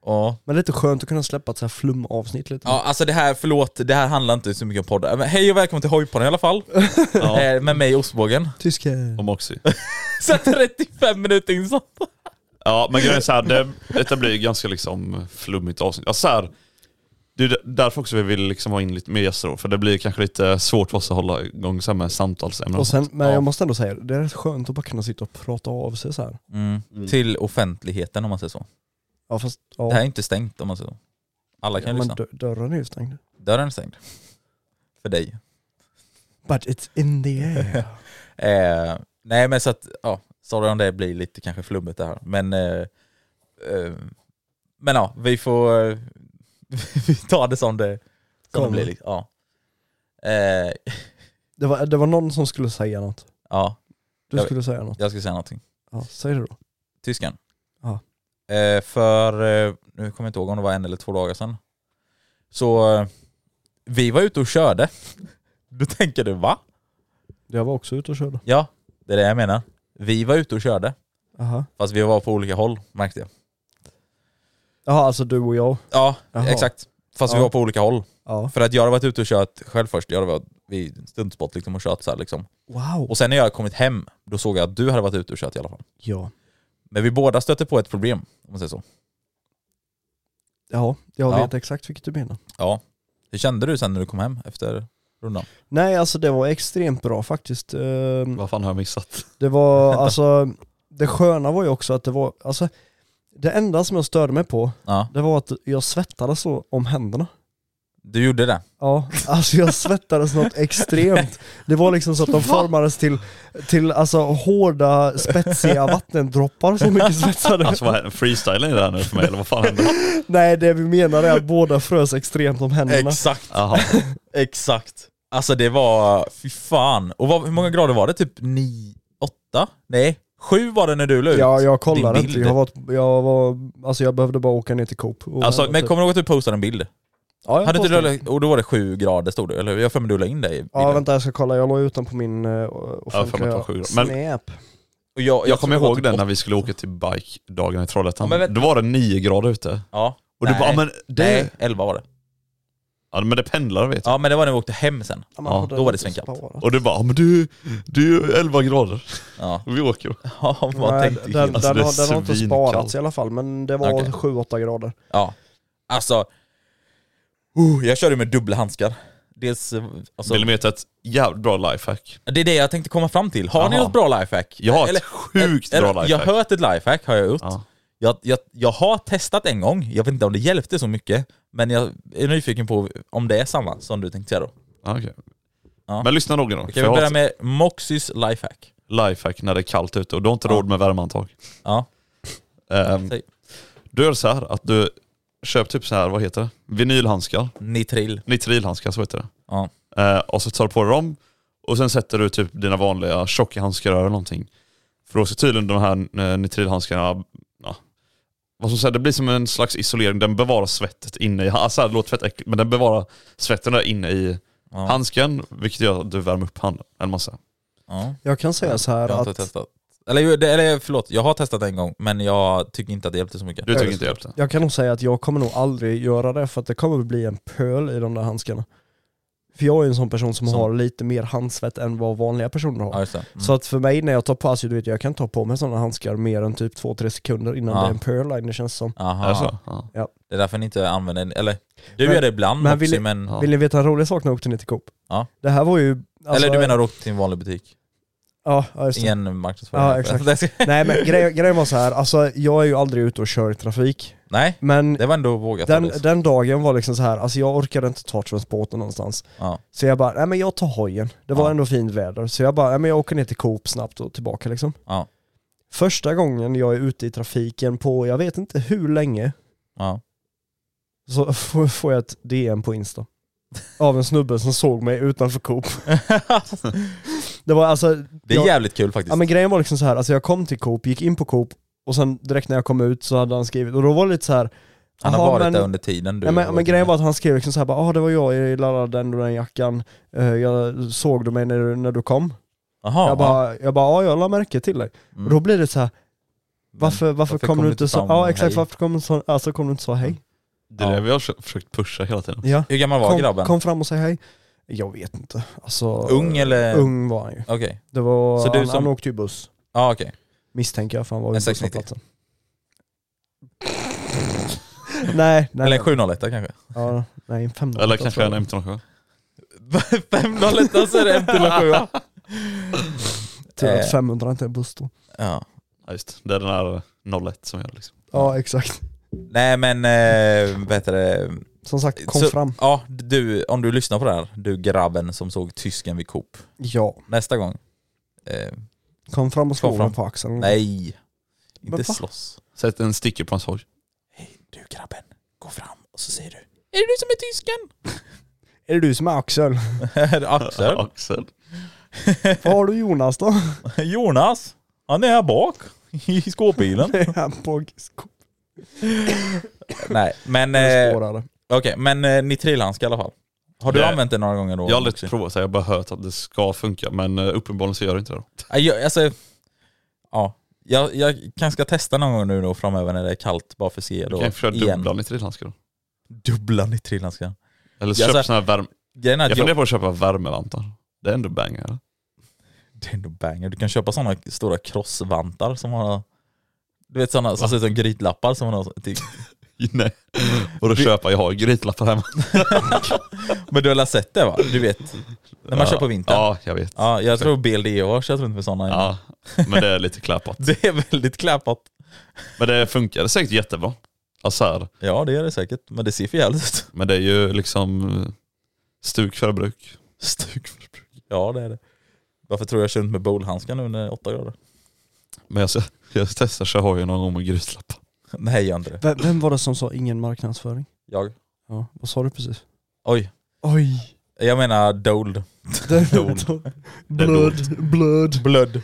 [SPEAKER 3] Ja.
[SPEAKER 4] Men lite skönt att kunna släppa ett så här flumavsnitt lite.
[SPEAKER 3] ja, alltså det här, förlåt, det här handlar inte så mycket om poddar. Men hej och välkommen till Hojpodden i alla fall.
[SPEAKER 2] Ja,
[SPEAKER 3] Eh, med mig Ostbågen.
[SPEAKER 4] Tyskar.
[SPEAKER 2] och Moxie.
[SPEAKER 3] Så 35 minuter in så.
[SPEAKER 2] Ja men grejen är så här, det, detta blir ju ganska liksom flummigt avsnitt. Alltså så här, det är därför också vi vill liksom ha in lite mer gäster då, för det blir kanske lite svårt för oss att hålla igång så här med samtalsämnen.
[SPEAKER 4] Och sen, men
[SPEAKER 2] Ja.
[SPEAKER 4] jag måste ändå säga det, det är rätt skönt att bara kunna sitta och prata av sig så här.
[SPEAKER 3] Mm.
[SPEAKER 2] Mm.
[SPEAKER 3] Till offentligheten om man säger så.
[SPEAKER 4] Ja fast, ja.
[SPEAKER 3] Det här är inte stängt om man säger så. Alla kan
[SPEAKER 4] ja,
[SPEAKER 3] ju
[SPEAKER 4] men
[SPEAKER 3] lyssna.
[SPEAKER 4] dör- dörren är ju stängd.
[SPEAKER 3] Dörren är stängd. För dig.
[SPEAKER 4] But it's in
[SPEAKER 3] <laughs>
[SPEAKER 4] the air.
[SPEAKER 3] Eh, nej men så att, ja, sorry om det blir lite kanske flummigt det här. Men, eh, eh, men ja, vi får eh, <laughs> vi tar det som det, som det
[SPEAKER 4] Kommer.
[SPEAKER 3] blir. Liksom. Ja. Eh,
[SPEAKER 4] det, var, det var någon som skulle säga något.
[SPEAKER 3] ja,
[SPEAKER 4] Du
[SPEAKER 3] Jag-
[SPEAKER 4] skulle säga något.
[SPEAKER 3] jag ska säga någonting.
[SPEAKER 4] Ja, säg det då.
[SPEAKER 3] Tysken.
[SPEAKER 4] Ja.
[SPEAKER 3] Eh, för, eh, nu kommer jag inte ihåg om det var en eller två dagar sedan. Så eh, vi var ute och körde. <laughs> Då tänker du va?
[SPEAKER 4] Jag var också ute och körde.
[SPEAKER 3] Ja, det är det jag menar. Vi var ute och körde.
[SPEAKER 4] Aha.
[SPEAKER 3] Fast vi var på olika håll märkte jag.
[SPEAKER 4] Jaha, alltså du och jag.
[SPEAKER 3] Ja,
[SPEAKER 4] Jaha.
[SPEAKER 3] exakt. Fast vi
[SPEAKER 4] Ja.
[SPEAKER 3] var på olika håll.
[SPEAKER 4] Ja.
[SPEAKER 3] För att jag hade varit ute och kört själv först, jag hade varit vid stuntspot liksom och kört så här liksom.
[SPEAKER 4] Wow.
[SPEAKER 3] Och sen när jag hade kommit hem, då såg jag att du hade varit ute och kört i alla fall.
[SPEAKER 4] Ja.
[SPEAKER 3] Men vi båda stötte på ett problem, om man säger så.
[SPEAKER 4] Ja, jag
[SPEAKER 3] Ja.
[SPEAKER 4] vet exakt vilket du menar.
[SPEAKER 3] Ja. Hur kände du sen när du kom hem efter rundan?
[SPEAKER 4] Nej, alltså det var extremt bra faktiskt. Ehm,
[SPEAKER 2] Vad fan har jag missat?
[SPEAKER 4] Det <laughs> var alltså, det sköna var ju också att det var, alltså det enda som jag störde mig på,
[SPEAKER 3] Ja,
[SPEAKER 4] det var att jag svettades så om händerna.
[SPEAKER 3] du gjorde det.
[SPEAKER 4] Ja, <laughs> alltså jag svettades något extremt. Det var liksom så att <laughs> de formades till, till alltså hårda <laughs> spetsiga vattendroppar så mycket svetsade.
[SPEAKER 2] Alltså vad
[SPEAKER 4] <laughs>
[SPEAKER 2] händer? Freestylen är det här nu för mig eller vad fan händer?
[SPEAKER 4] Nej det vi
[SPEAKER 3] <laughs>
[SPEAKER 4] menar är att båda frös extremt om händerna.
[SPEAKER 3] Exakt,
[SPEAKER 2] Jaha.
[SPEAKER 3] <laughs> exakt. Alltså det var, fy fan. Och vad, hur många grader var det? Typ ni, åtta? Nej, sju var det när du la ut
[SPEAKER 4] Ja, jag
[SPEAKER 3] din
[SPEAKER 4] kollade inte.
[SPEAKER 3] bild.
[SPEAKER 4] Jag var, jag var, alltså jag behövde bara åka ner till Coop. och
[SPEAKER 3] Alltså,
[SPEAKER 4] vända
[SPEAKER 3] men
[SPEAKER 4] typ.
[SPEAKER 3] kommer du ihåg att du postade en bild?
[SPEAKER 4] ja, jag
[SPEAKER 3] Hade inte du,
[SPEAKER 4] postade.
[SPEAKER 3] la- och då var det sju grader stod det, eller hur? Jag har för mig du la in det i bilden.
[SPEAKER 4] Ja vänta jag ska kolla, jag la ut den på min eh,
[SPEAKER 2] för mig att
[SPEAKER 4] offentliga
[SPEAKER 2] det var sju grader. Men-
[SPEAKER 4] Snap.
[SPEAKER 3] Och jag,
[SPEAKER 2] Jag kommer
[SPEAKER 3] tror det var
[SPEAKER 2] ihåg
[SPEAKER 3] typ
[SPEAKER 2] den när
[SPEAKER 3] åtta-
[SPEAKER 2] vi skulle åka till bike-dagen i Trollhättan.
[SPEAKER 3] Ja, men vet-
[SPEAKER 2] Då var det nio grader ute.
[SPEAKER 3] Ja.
[SPEAKER 2] Och du
[SPEAKER 3] Nej.
[SPEAKER 2] bara, ja, men
[SPEAKER 3] Nej,
[SPEAKER 2] det...
[SPEAKER 3] elva var det.
[SPEAKER 2] Ja men det pendlar vet jag.
[SPEAKER 3] Ja men det var när vi åkte hem sen.
[SPEAKER 4] Ja, man
[SPEAKER 2] Ja,
[SPEAKER 4] hade
[SPEAKER 3] då var det
[SPEAKER 4] inte
[SPEAKER 3] svinkallt.
[SPEAKER 4] sparat.
[SPEAKER 2] Och du bara, ja, men du, du är 11 grader.
[SPEAKER 3] Ja,
[SPEAKER 2] Och vi åker.
[SPEAKER 3] <laughs> ja man
[SPEAKER 4] Nej,
[SPEAKER 3] tänkte
[SPEAKER 4] den,
[SPEAKER 3] ju helt...
[SPEAKER 4] den,
[SPEAKER 2] Alltså, det är
[SPEAKER 4] har, den har inte
[SPEAKER 2] svinkallt.
[SPEAKER 4] sparats i alla fall, men det var
[SPEAKER 3] Okej.
[SPEAKER 4] 7-8 grader.
[SPEAKER 3] Ja. Alltså, oh, jag körde med dubbla handskar. Dels, eh, alltså,
[SPEAKER 2] Vill ni veta ett jävligt bra lifehack?
[SPEAKER 3] det är det jag tänkte komma fram till. Har ni
[SPEAKER 2] Jaha.
[SPEAKER 3] något bra lifehack?
[SPEAKER 2] Jag har ett sjukt
[SPEAKER 3] eller-
[SPEAKER 2] bra
[SPEAKER 3] Jag
[SPEAKER 2] lifehack.
[SPEAKER 3] har hört ett lifehack, har jag gjort.
[SPEAKER 2] Ja.
[SPEAKER 3] Jag, jag, jag har testat en gång, jag vet inte om det hjälpte så mycket, men jag är nyfiken på om det är samma som du tänkte säga då.
[SPEAKER 2] Ja, okej.
[SPEAKER 3] Ja.
[SPEAKER 2] Men lyssna noga då. för
[SPEAKER 3] Okej, vi
[SPEAKER 2] jag har-
[SPEAKER 3] börjar med Moxys lifehack.
[SPEAKER 2] lifehack när det är kallt ute och du har inte
[SPEAKER 3] Ja.
[SPEAKER 2] råd med värmeantag.
[SPEAKER 3] Ja.
[SPEAKER 2] Ehm,
[SPEAKER 3] Säg.
[SPEAKER 2] du gör så här att du köper typ så här, vad heter det? Vinylhandskar.
[SPEAKER 3] Nitril.
[SPEAKER 2] Nitrilhandskar, så heter det.
[SPEAKER 3] Ja.
[SPEAKER 2] Eh, och så tar du på dig dem och sen sätter du typ dina vanliga tjocka handskar eller någonting. För då ska tydligen de här eh, nitrilhandskarna, ja, vad ska jag säga, det blir som en slags isolering, den bevarar svettet inne i, alltså det låter fett äckligt, men den bevarar svetten där inne i
[SPEAKER 3] Ja.
[SPEAKER 2] handsken, vilket gör att du värmer upp handen en massa.
[SPEAKER 3] Ja.
[SPEAKER 4] Jag kan säga så här
[SPEAKER 3] Jag har inte
[SPEAKER 4] att
[SPEAKER 3] testat. Eller, jo, det- eller förlåt, jag har testat en gång men jag tycker inte att det hjälpte så mycket.
[SPEAKER 2] Du tycker inte det hjälpte?
[SPEAKER 4] jag kan nog säga att jag kommer nog aldrig göra det för att det kommer bli en pöl i de där handskarna. För jag är en sån person som
[SPEAKER 3] Som-
[SPEAKER 4] har lite mer handsvett än vad vanliga personer har.
[SPEAKER 3] Ja, just det. Mm.
[SPEAKER 4] Så att för mig när jag tar på, alltså du vet jag kan ta på mig sådana handskar mer än typ 2-3 sekunder innan
[SPEAKER 3] Ja.
[SPEAKER 4] det är en pöl line, det känns som.
[SPEAKER 2] Är
[SPEAKER 3] Aha.
[SPEAKER 2] det så? Ja.
[SPEAKER 3] Det är därför ni inte använder den. Eller, du
[SPEAKER 4] Men-
[SPEAKER 3] gör det ibland
[SPEAKER 4] men
[SPEAKER 3] men,
[SPEAKER 4] vill-
[SPEAKER 3] men
[SPEAKER 2] Ja.
[SPEAKER 4] Vill ni veta en rolig sak när jag åkte ner till Coop?
[SPEAKER 3] Ja.
[SPEAKER 4] Det här var ju... alltså-
[SPEAKER 3] Eller du menar åkt till en vanlig butik?
[SPEAKER 4] Ja, ja just det.
[SPEAKER 3] Ingen marknadsföring.
[SPEAKER 4] Ja,
[SPEAKER 3] här. <laughs>
[SPEAKER 4] exakt. Nej men grejen, grejen var så här, alltså jag är ju aldrig ute och kör i trafik.
[SPEAKER 3] Nej,
[SPEAKER 4] Men
[SPEAKER 3] det var ändå vågat.
[SPEAKER 4] den,
[SPEAKER 3] Alice.
[SPEAKER 4] den dagen var liksom så här, alltså jag orkade inte ta transporten någonstans.
[SPEAKER 3] Ja.
[SPEAKER 4] Så jag bara, nej men jag tar hojen. Det var
[SPEAKER 3] Ja.
[SPEAKER 4] ändå fint väder. Så jag bara, nej men jag åker ner till Coop snabbt och tillbaka liksom.
[SPEAKER 3] Ja.
[SPEAKER 4] Första gången jag är ute i trafiken på, jag vet inte hur länge, <laughs>
[SPEAKER 3] Ja.
[SPEAKER 4] så får får jag ett DM på Insta. Av en snubbe som såg mig utanför Coop. Det var alltså...
[SPEAKER 3] det är
[SPEAKER 4] jag-
[SPEAKER 3] jävligt kul faktiskt.
[SPEAKER 4] Ja men grejen var liksom så här, alltså jag kom till Coop, gick in på Coop och sen direkt när jag kom ut så hade han skrivit, och då var det lite så här.
[SPEAKER 3] Han har
[SPEAKER 4] aha,
[SPEAKER 3] varit
[SPEAKER 4] men-
[SPEAKER 3] där under tiden du
[SPEAKER 4] Nej,
[SPEAKER 3] har
[SPEAKER 4] men, men
[SPEAKER 3] varit
[SPEAKER 4] grejen
[SPEAKER 3] med.
[SPEAKER 4] var att han skrev liksom så här bara, ah, det var jag, jag gillade den och den jackan, Eh, jag såg du mig när du, när du kom?
[SPEAKER 3] Jaha,
[SPEAKER 4] jag bara, jag bara, ja jag la märke till dig.
[SPEAKER 3] ja. Mm.
[SPEAKER 4] Och då blir det så här,
[SPEAKER 3] Men
[SPEAKER 4] varför, varför,
[SPEAKER 3] varför
[SPEAKER 4] kom,
[SPEAKER 3] kom
[SPEAKER 4] du
[SPEAKER 3] du
[SPEAKER 4] inte
[SPEAKER 3] inte
[SPEAKER 4] så,
[SPEAKER 3] fram
[SPEAKER 4] ja
[SPEAKER 3] och
[SPEAKER 4] exakt
[SPEAKER 3] hej?
[SPEAKER 4] varför kom du inte så, alltså kom du inte så hej?
[SPEAKER 2] Det är det vi har försökt- försökt pusha hela tiden.
[SPEAKER 4] Ja.
[SPEAKER 3] Hur gammal var
[SPEAKER 4] Kom,
[SPEAKER 3] Mm. grabben?
[SPEAKER 4] kom fram och säg hej. Jag vet inte, alltså
[SPEAKER 3] Ung eller?
[SPEAKER 4] ung var han ju.
[SPEAKER 3] Okej.
[SPEAKER 4] Det var,
[SPEAKER 3] Så du
[SPEAKER 4] han,
[SPEAKER 3] som-
[SPEAKER 4] han åkte ju buss,
[SPEAKER 3] Ja okej.
[SPEAKER 4] misstänker jag för han var
[SPEAKER 3] En
[SPEAKER 4] ju på
[SPEAKER 3] 690.
[SPEAKER 4] busshållplatsen. Nej, nej.
[SPEAKER 3] Eller en
[SPEAKER 4] nej.
[SPEAKER 3] 701 kanske? <laughs>
[SPEAKER 4] Ja, nej, en 500.
[SPEAKER 2] Eller kanske en M307.
[SPEAKER 3] 501 så är det en till en sjua.
[SPEAKER 4] <laughs> Till
[SPEAKER 3] Eh.
[SPEAKER 4] att 500 inte är en buss då.
[SPEAKER 3] Ja.
[SPEAKER 2] Ja just det, det är den här 01 som gör det liksom.
[SPEAKER 4] Ja, exakt.
[SPEAKER 3] Nej men, eh, vad heter det?
[SPEAKER 4] Som sagt, kom
[SPEAKER 3] Så-
[SPEAKER 4] fram.
[SPEAKER 3] Ja, du, om du lyssnar på det här, du grabben som såg tysken vid Coop.
[SPEAKER 4] Ja,
[SPEAKER 3] Nästa gång. Eh,
[SPEAKER 4] kom fram och slå
[SPEAKER 3] Kom fram.
[SPEAKER 4] honom på
[SPEAKER 3] Mm.
[SPEAKER 4] axeln.
[SPEAKER 3] nej. Inte
[SPEAKER 4] Men va?
[SPEAKER 3] slåss.
[SPEAKER 2] Sätt en sticker på hans hoj.
[SPEAKER 3] Du grabben, gå fram och så säger du Är det du som är <laughs> tysken?
[SPEAKER 4] Är det du som är
[SPEAKER 3] <laughs>
[SPEAKER 4] Axel?
[SPEAKER 3] Axel?
[SPEAKER 2] Axel.
[SPEAKER 4] Vad har du Jonas då?
[SPEAKER 3] Jonas? Han är här bak. I skåpbilen.
[SPEAKER 4] Här på sk-
[SPEAKER 3] <laughs> nej, men... Eh, Okej,
[SPEAKER 4] spårare.
[SPEAKER 3] men eh, nitrilhandske i alla fall. Har du
[SPEAKER 2] Nej.
[SPEAKER 3] använt det några gånger då?
[SPEAKER 2] Jag har aldrig
[SPEAKER 3] Maxi?
[SPEAKER 2] provat det, jag har bara hört att det ska funka men eh, uppenbarligen så gör det inte det. då.
[SPEAKER 3] Nej, Jag, alltså, ja. Jag, jag kanske ska testa någon gång nu då framöver när det är kallt bara för att se
[SPEAKER 2] Du
[SPEAKER 3] då
[SPEAKER 2] kan ju försöka
[SPEAKER 3] igen.
[SPEAKER 2] dubbla nitrilhandskar då.
[SPEAKER 3] Dubbla nitrilhandskarna.
[SPEAKER 2] Eller
[SPEAKER 3] Ja,
[SPEAKER 2] köp
[SPEAKER 3] så-
[SPEAKER 2] såna här värme...
[SPEAKER 3] Grejen är att
[SPEAKER 2] Jag
[SPEAKER 3] jag,
[SPEAKER 2] funderar på att köpa värmevantar. Det är ändå bang
[SPEAKER 3] <laughs>
[SPEAKER 2] eller?
[SPEAKER 3] det är ändå banger. Du kan köpa sådana stora krossvantar som har du vet sådana som
[SPEAKER 2] Va?
[SPEAKER 3] ser ut som grytlappar som man har typ- till,
[SPEAKER 2] Nej. <laughs> Och då köpa, jag har grytlappar hemma.
[SPEAKER 3] Men du har väl sett det va? Du vet, när man
[SPEAKER 2] Ja.
[SPEAKER 3] kör på vintern. Ja.
[SPEAKER 2] Ja, jag vet. Ja.
[SPEAKER 3] ja jag tror BLDH kört runt med sådana. Ja.
[SPEAKER 2] men det är lite kläpat.
[SPEAKER 3] Det är väldigt kläpat.
[SPEAKER 2] Men det funkar säkert jättebra. Alltså här,
[SPEAKER 3] Ja det är det säkert, men det ser för jävligt ut.
[SPEAKER 2] men det är ju liksom eh, stuk för bruk.
[SPEAKER 3] Stuk för bruk. Ja det är det. Varför tror jag jag kör runt med bowlhandskar nu när det är åtta grader?
[SPEAKER 2] Men jag ska, jag ska testa köra hojen någon gång med grytlappar.
[SPEAKER 3] Nej gör inte det.
[SPEAKER 4] Vem, vem var det som sa ingen marknadsföring?
[SPEAKER 3] Jag?
[SPEAKER 4] Ja, vad sa du precis?
[SPEAKER 3] Oj.
[SPEAKER 4] Oj.
[SPEAKER 3] Jag menar dold.
[SPEAKER 4] <laughs> blood, blood.
[SPEAKER 3] Blöd.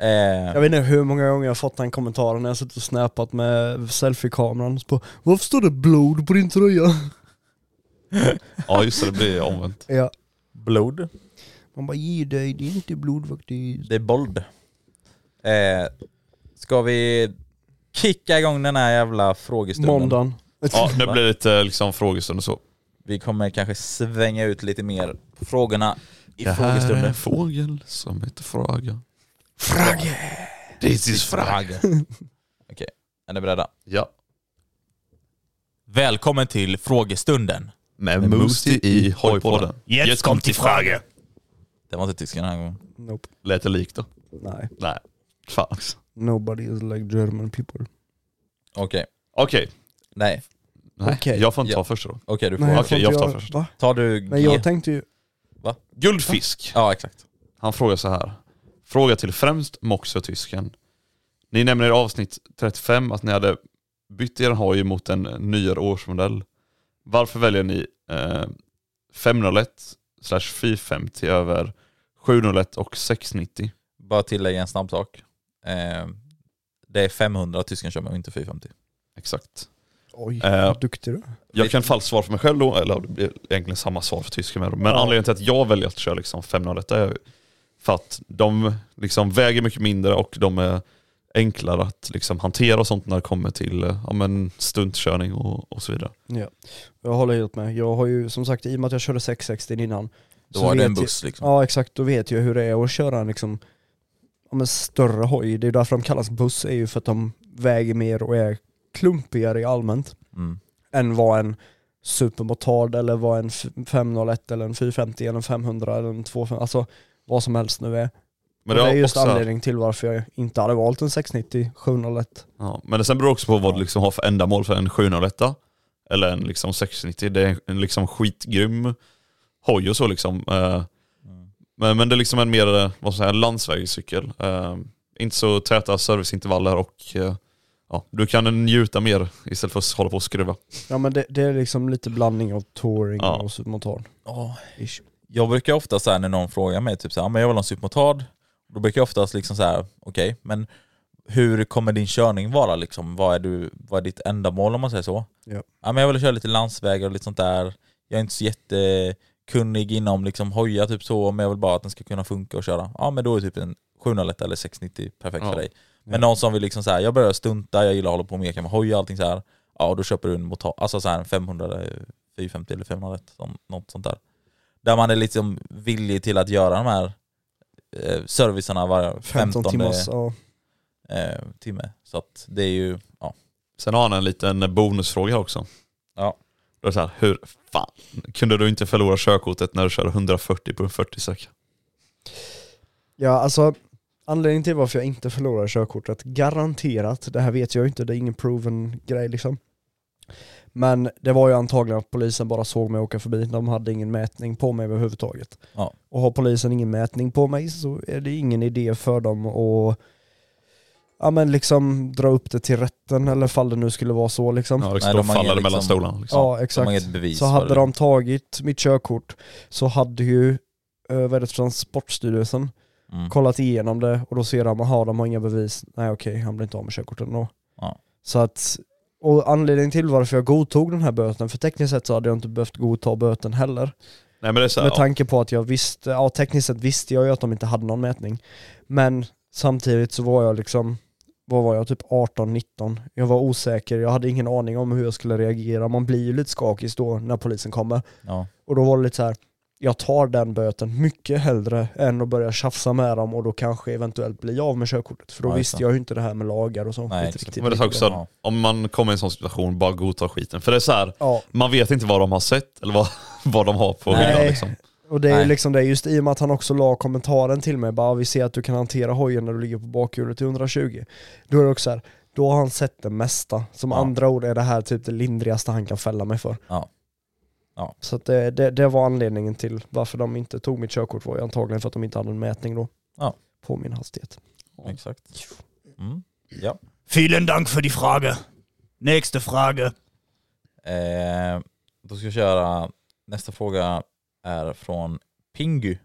[SPEAKER 3] Eh,
[SPEAKER 4] Jag vet inte hur många gånger jag har fått den kommentaren när jag suttit och snäpat med selfiekameran. Så på, Varför står det blod på din tröja?
[SPEAKER 2] Ja just det, det blir omvänt.
[SPEAKER 4] Ja.
[SPEAKER 3] blod.
[SPEAKER 4] Man bara ge dig, det är inte blod faktiskt.
[SPEAKER 3] Det är bold. Eh, ska vi kicka igång den här jävla frågestunden?
[SPEAKER 4] Måndagen.
[SPEAKER 2] Ja, nu blir det lite liksom frågestund och så.
[SPEAKER 3] Vi kommer kanske svänga ut lite mer på frågorna i
[SPEAKER 2] Det här är
[SPEAKER 3] frågestunden.
[SPEAKER 2] en fågel som heter Fraga.
[SPEAKER 4] Fragge!
[SPEAKER 2] This is <laughs>
[SPEAKER 3] Okej, är ni beredda?
[SPEAKER 2] Ja.
[SPEAKER 3] Välkommen till frågestunden.
[SPEAKER 2] Med Moostie i hojpodden. Jetzt kommt die Frage.
[SPEAKER 3] Det var inte tysken den här gången.
[SPEAKER 4] <laughs> Nope.
[SPEAKER 2] Lät det likt då?
[SPEAKER 4] Nej.
[SPEAKER 2] Nej. Fan också.
[SPEAKER 4] Nobody is like German people.
[SPEAKER 3] Okej,
[SPEAKER 2] Okej.
[SPEAKER 3] nej.
[SPEAKER 2] Nej,
[SPEAKER 4] Okej.
[SPEAKER 2] jag får inte ta
[SPEAKER 3] Ja.
[SPEAKER 2] första då.
[SPEAKER 3] Okej du får.
[SPEAKER 4] Nej,
[SPEAKER 2] Okej,
[SPEAKER 4] får
[SPEAKER 2] jag
[SPEAKER 4] inte
[SPEAKER 2] tar
[SPEAKER 4] göra-
[SPEAKER 2] först.
[SPEAKER 4] Va?
[SPEAKER 3] Tar du G?
[SPEAKER 4] Men jag tänkte ju,
[SPEAKER 2] Guldfisk.
[SPEAKER 3] Ja exakt.
[SPEAKER 2] Han frågar så här. Fråga till främst Moxie och tysken. Ni nämner i avsnitt 35 att ni hade bytt er hoj mot en nyare årsmodell. Varför väljer ni eh, 501 slash 450 över 701 och 690?
[SPEAKER 3] Bara tillägga en snabb sak. Eh, det är 500 tysken kör med och inte 450.
[SPEAKER 2] Exakt.
[SPEAKER 4] Oj,
[SPEAKER 2] Eh,
[SPEAKER 4] vad duktig du är.
[SPEAKER 2] Jag kan falskt svar för mig själv då, eller det blir egentligen samma svar för tysken med. då. Men anledningen till att jag väljer att köra liksom 501 är för att de liksom väger mycket mindre och de är enklare att liksom hantera och sånt när det kommer till eh, ja, men stuntkörning och, och så vidare.
[SPEAKER 4] Ja. Jag håller helt med. Jag har ju som sagt, i och med att jag körde 660 innan.
[SPEAKER 3] Då
[SPEAKER 4] så
[SPEAKER 3] var det
[SPEAKER 4] vet
[SPEAKER 3] en buss liksom.
[SPEAKER 4] Jag, ja exakt, då vet jag hur det är att köra en liksom, ja, men större hoj. Det är därför de kallas buss, är ju för att de väger mer och är klumpigare i allmänt
[SPEAKER 3] Mm.
[SPEAKER 4] än vad en supermotard eller vad en f- 501 eller en 450 eller en 500 eller en 250, alltså vad som helst nu är.
[SPEAKER 2] Men
[SPEAKER 4] och det är
[SPEAKER 2] har
[SPEAKER 4] just
[SPEAKER 2] också-
[SPEAKER 4] anledningen till varför jag inte hade valt en 690 701.
[SPEAKER 2] Ja, men det sen beror också på vad du liksom har för ändamål för en 701 eller en liksom 690. Det är en liksom skitgrym hoj och så liksom. Eh,
[SPEAKER 3] Mm.
[SPEAKER 2] Men, men det är liksom en mer eh, vad ska jag säga, landsvägscykel. Eh, Inte så täta serviceintervaller och eh, ja, du kan njuta mer istället för att hålla på och skruva.
[SPEAKER 4] Ja men det, det är liksom lite blandning av touring
[SPEAKER 2] Ja.
[SPEAKER 4] och supermotard.
[SPEAKER 3] Ja, jag brukar ofta så här när någon frågar mig typ så här, "Ah, men jag vill ha en supermotard. Då brukar jag oftast liksom så här, okej, men hur kommer din körning vara liksom? Vad är, du, vad är ditt ändamål om man säger så?
[SPEAKER 4] Ja.
[SPEAKER 3] "Ah, men jag vill köra lite landsvägar och lite sånt där. Jag är inte så jättekunnig inom liksom hoja typ så, men jag vill bara att den ska kunna funka och köra. Ja men då är typ en 701 eller 690 perfekt
[SPEAKER 2] Ja.
[SPEAKER 3] för dig. Men någon som vill liksom så här, jag börjar stunta, jag gillar att hålla på och meka med hoja och allting så här. Ja då köper du en motor, alltså så här en 500, eller 450 eller 501, som- något sånt där. Där man är liksom villig till att göra de här eh, servicerna var
[SPEAKER 4] 15
[SPEAKER 3] femtonde
[SPEAKER 4] timmars, ja.
[SPEAKER 3] eh, timme. Så att det är ju, ja.
[SPEAKER 2] Sen har han en liten bonusfråga här också.
[SPEAKER 3] Ja.
[SPEAKER 2] Då är det så här, hur fan kunde du inte förlora körkortet när du körde 140 på en 40 säck?
[SPEAKER 4] Ja, alltså anledningen till varför jag inte förlorade körkortet, garanterat, det här vet jag ju inte, det är ingen proven grej liksom. Men det var ju antagligen att polisen bara såg mig åka förbi, de hade ingen mätning på mig överhuvudtaget.
[SPEAKER 3] Ja.
[SPEAKER 4] Och har polisen ingen mätning på mig så är det ingen idé för dem att ja, men liksom dra upp det till rätten eller fall det nu skulle vara så liksom.
[SPEAKER 2] Ja, liksom,
[SPEAKER 3] Nej,
[SPEAKER 2] då
[SPEAKER 3] de har
[SPEAKER 2] faller det
[SPEAKER 3] ingen
[SPEAKER 2] mellan
[SPEAKER 3] liksom-
[SPEAKER 2] stolarna. Liksom.
[SPEAKER 4] Ja,
[SPEAKER 3] De har
[SPEAKER 4] exakt.
[SPEAKER 3] inget bevis
[SPEAKER 4] Så
[SPEAKER 3] för
[SPEAKER 4] hade
[SPEAKER 3] det.
[SPEAKER 4] de tagit mitt körkort så hade ju eh, vad är det, Transportstyrelsen
[SPEAKER 3] Mm.
[SPEAKER 4] kollat igenom det och då ser de, aha de har inga bevis, nej okej han blir inte av med körkortet ändå.
[SPEAKER 3] Ja.
[SPEAKER 4] Så att, och anledningen till varför jag godtog den här böten, för tekniskt sett så hade jag inte behövt godta böten heller.
[SPEAKER 2] Nej, men det är så här,
[SPEAKER 4] Med
[SPEAKER 2] ja.
[SPEAKER 4] tanke på att jag visste, ja tekniskt sett visste jag ju att de inte hade någon mätning. Men samtidigt så var jag liksom, vad var jag, typ 18-19. Jag var osäker, jag hade ingen aning om hur jag skulle reagera. Man blir ju lite skakig då när polisen kommer.
[SPEAKER 3] Ja.
[SPEAKER 4] Och då var det lite så här. jag tar den böten mycket hellre än att börja tjafsa med dem och då kanske eventuellt bli av med körkortet. För då
[SPEAKER 3] Ja, just
[SPEAKER 4] visste
[SPEAKER 3] det.
[SPEAKER 4] jag ju inte det här med lagar och sånt
[SPEAKER 3] Nej,
[SPEAKER 4] skit
[SPEAKER 3] exakt.
[SPEAKER 4] riktigt.
[SPEAKER 2] Men det är också
[SPEAKER 3] Ja.
[SPEAKER 2] att om man kommer i en sån situation, bara godta skiten. För det är så här,
[SPEAKER 4] Ja,
[SPEAKER 2] man vet inte vad de har sett eller vad, <laughs> vad de har på
[SPEAKER 3] Nej.
[SPEAKER 2] hyllan liksom.
[SPEAKER 4] och det är ju
[SPEAKER 3] Nej.
[SPEAKER 4] liksom det, just i och med att han också la kommentaren till mig, bara vi ser att du kan hantera hojen när du ligger på bakhjulet i 120. Då är det också så här, då har han sett det mesta. Som
[SPEAKER 3] Ja.
[SPEAKER 4] andra ord är det här typ det lindrigaste han kan fälla mig för.
[SPEAKER 3] Ja. Ja.
[SPEAKER 4] Så att det, det, det var anledningen till varför de inte tog mitt körkort var ju antagligen för att de inte hade en mätning då.
[SPEAKER 3] Ja.
[SPEAKER 4] På min hastighet.
[SPEAKER 3] Exakt. Mm. Ja.
[SPEAKER 6] Vielen Dank für die Frage. Nächste Frage.
[SPEAKER 3] Eh, då ska jag köra, nästa fråga är från Pingu.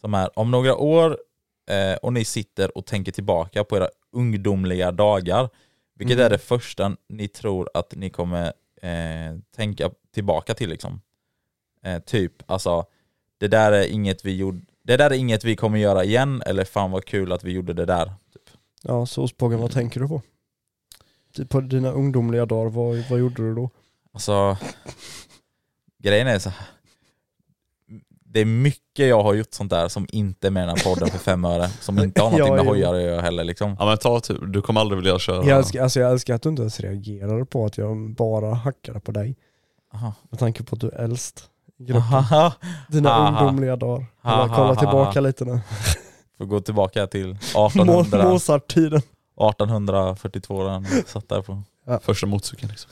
[SPEAKER 3] Som är, om några år eh, och ni sitter och tänker tillbaka på era ungdomliga dagar, vilket
[SPEAKER 6] Mm.
[SPEAKER 3] är det första ni tror att ni kommer eh, tänka tillbaka till liksom? Eh, typ, alltså, det där är inget vi gjorde, det där är inget vi kommer göra igen, eller fan vad kul att vi gjorde det där. Typ.
[SPEAKER 4] Ja, såspågen,
[SPEAKER 3] Mm.
[SPEAKER 4] vad tänker du på? Typ på dina ungdomliga dagar, vad, vad gjorde du då?
[SPEAKER 3] Alltså, grejen är så här. Det är mycket jag har gjort sånt där som inte är med i den här podden för fem öre. Som inte har någonting
[SPEAKER 4] Ja,
[SPEAKER 3] med
[SPEAKER 4] jo.
[SPEAKER 3] hojar att göra heller liksom.
[SPEAKER 2] Ja men ta tur, du kommer aldrig vilja köra.
[SPEAKER 4] Jag älskar, alltså jag älskar att du inte ens reagerade på att jag bara hackade på dig.
[SPEAKER 3] Aha.
[SPEAKER 4] Med tanke på att du är äldst. i gruppen.
[SPEAKER 3] Aha.
[SPEAKER 4] Dina
[SPEAKER 3] Aha.
[SPEAKER 4] ungdomliga dagar.
[SPEAKER 3] Aha,
[SPEAKER 4] Eller, kolla
[SPEAKER 3] aha, aha.
[SPEAKER 4] tillbaka lite nu.
[SPEAKER 3] Får gå tillbaka till
[SPEAKER 4] Må-
[SPEAKER 3] 1800,
[SPEAKER 4] Mozart-tiden.
[SPEAKER 3] 1842 när jag satt där på.
[SPEAKER 2] Första motorcykeln liksom.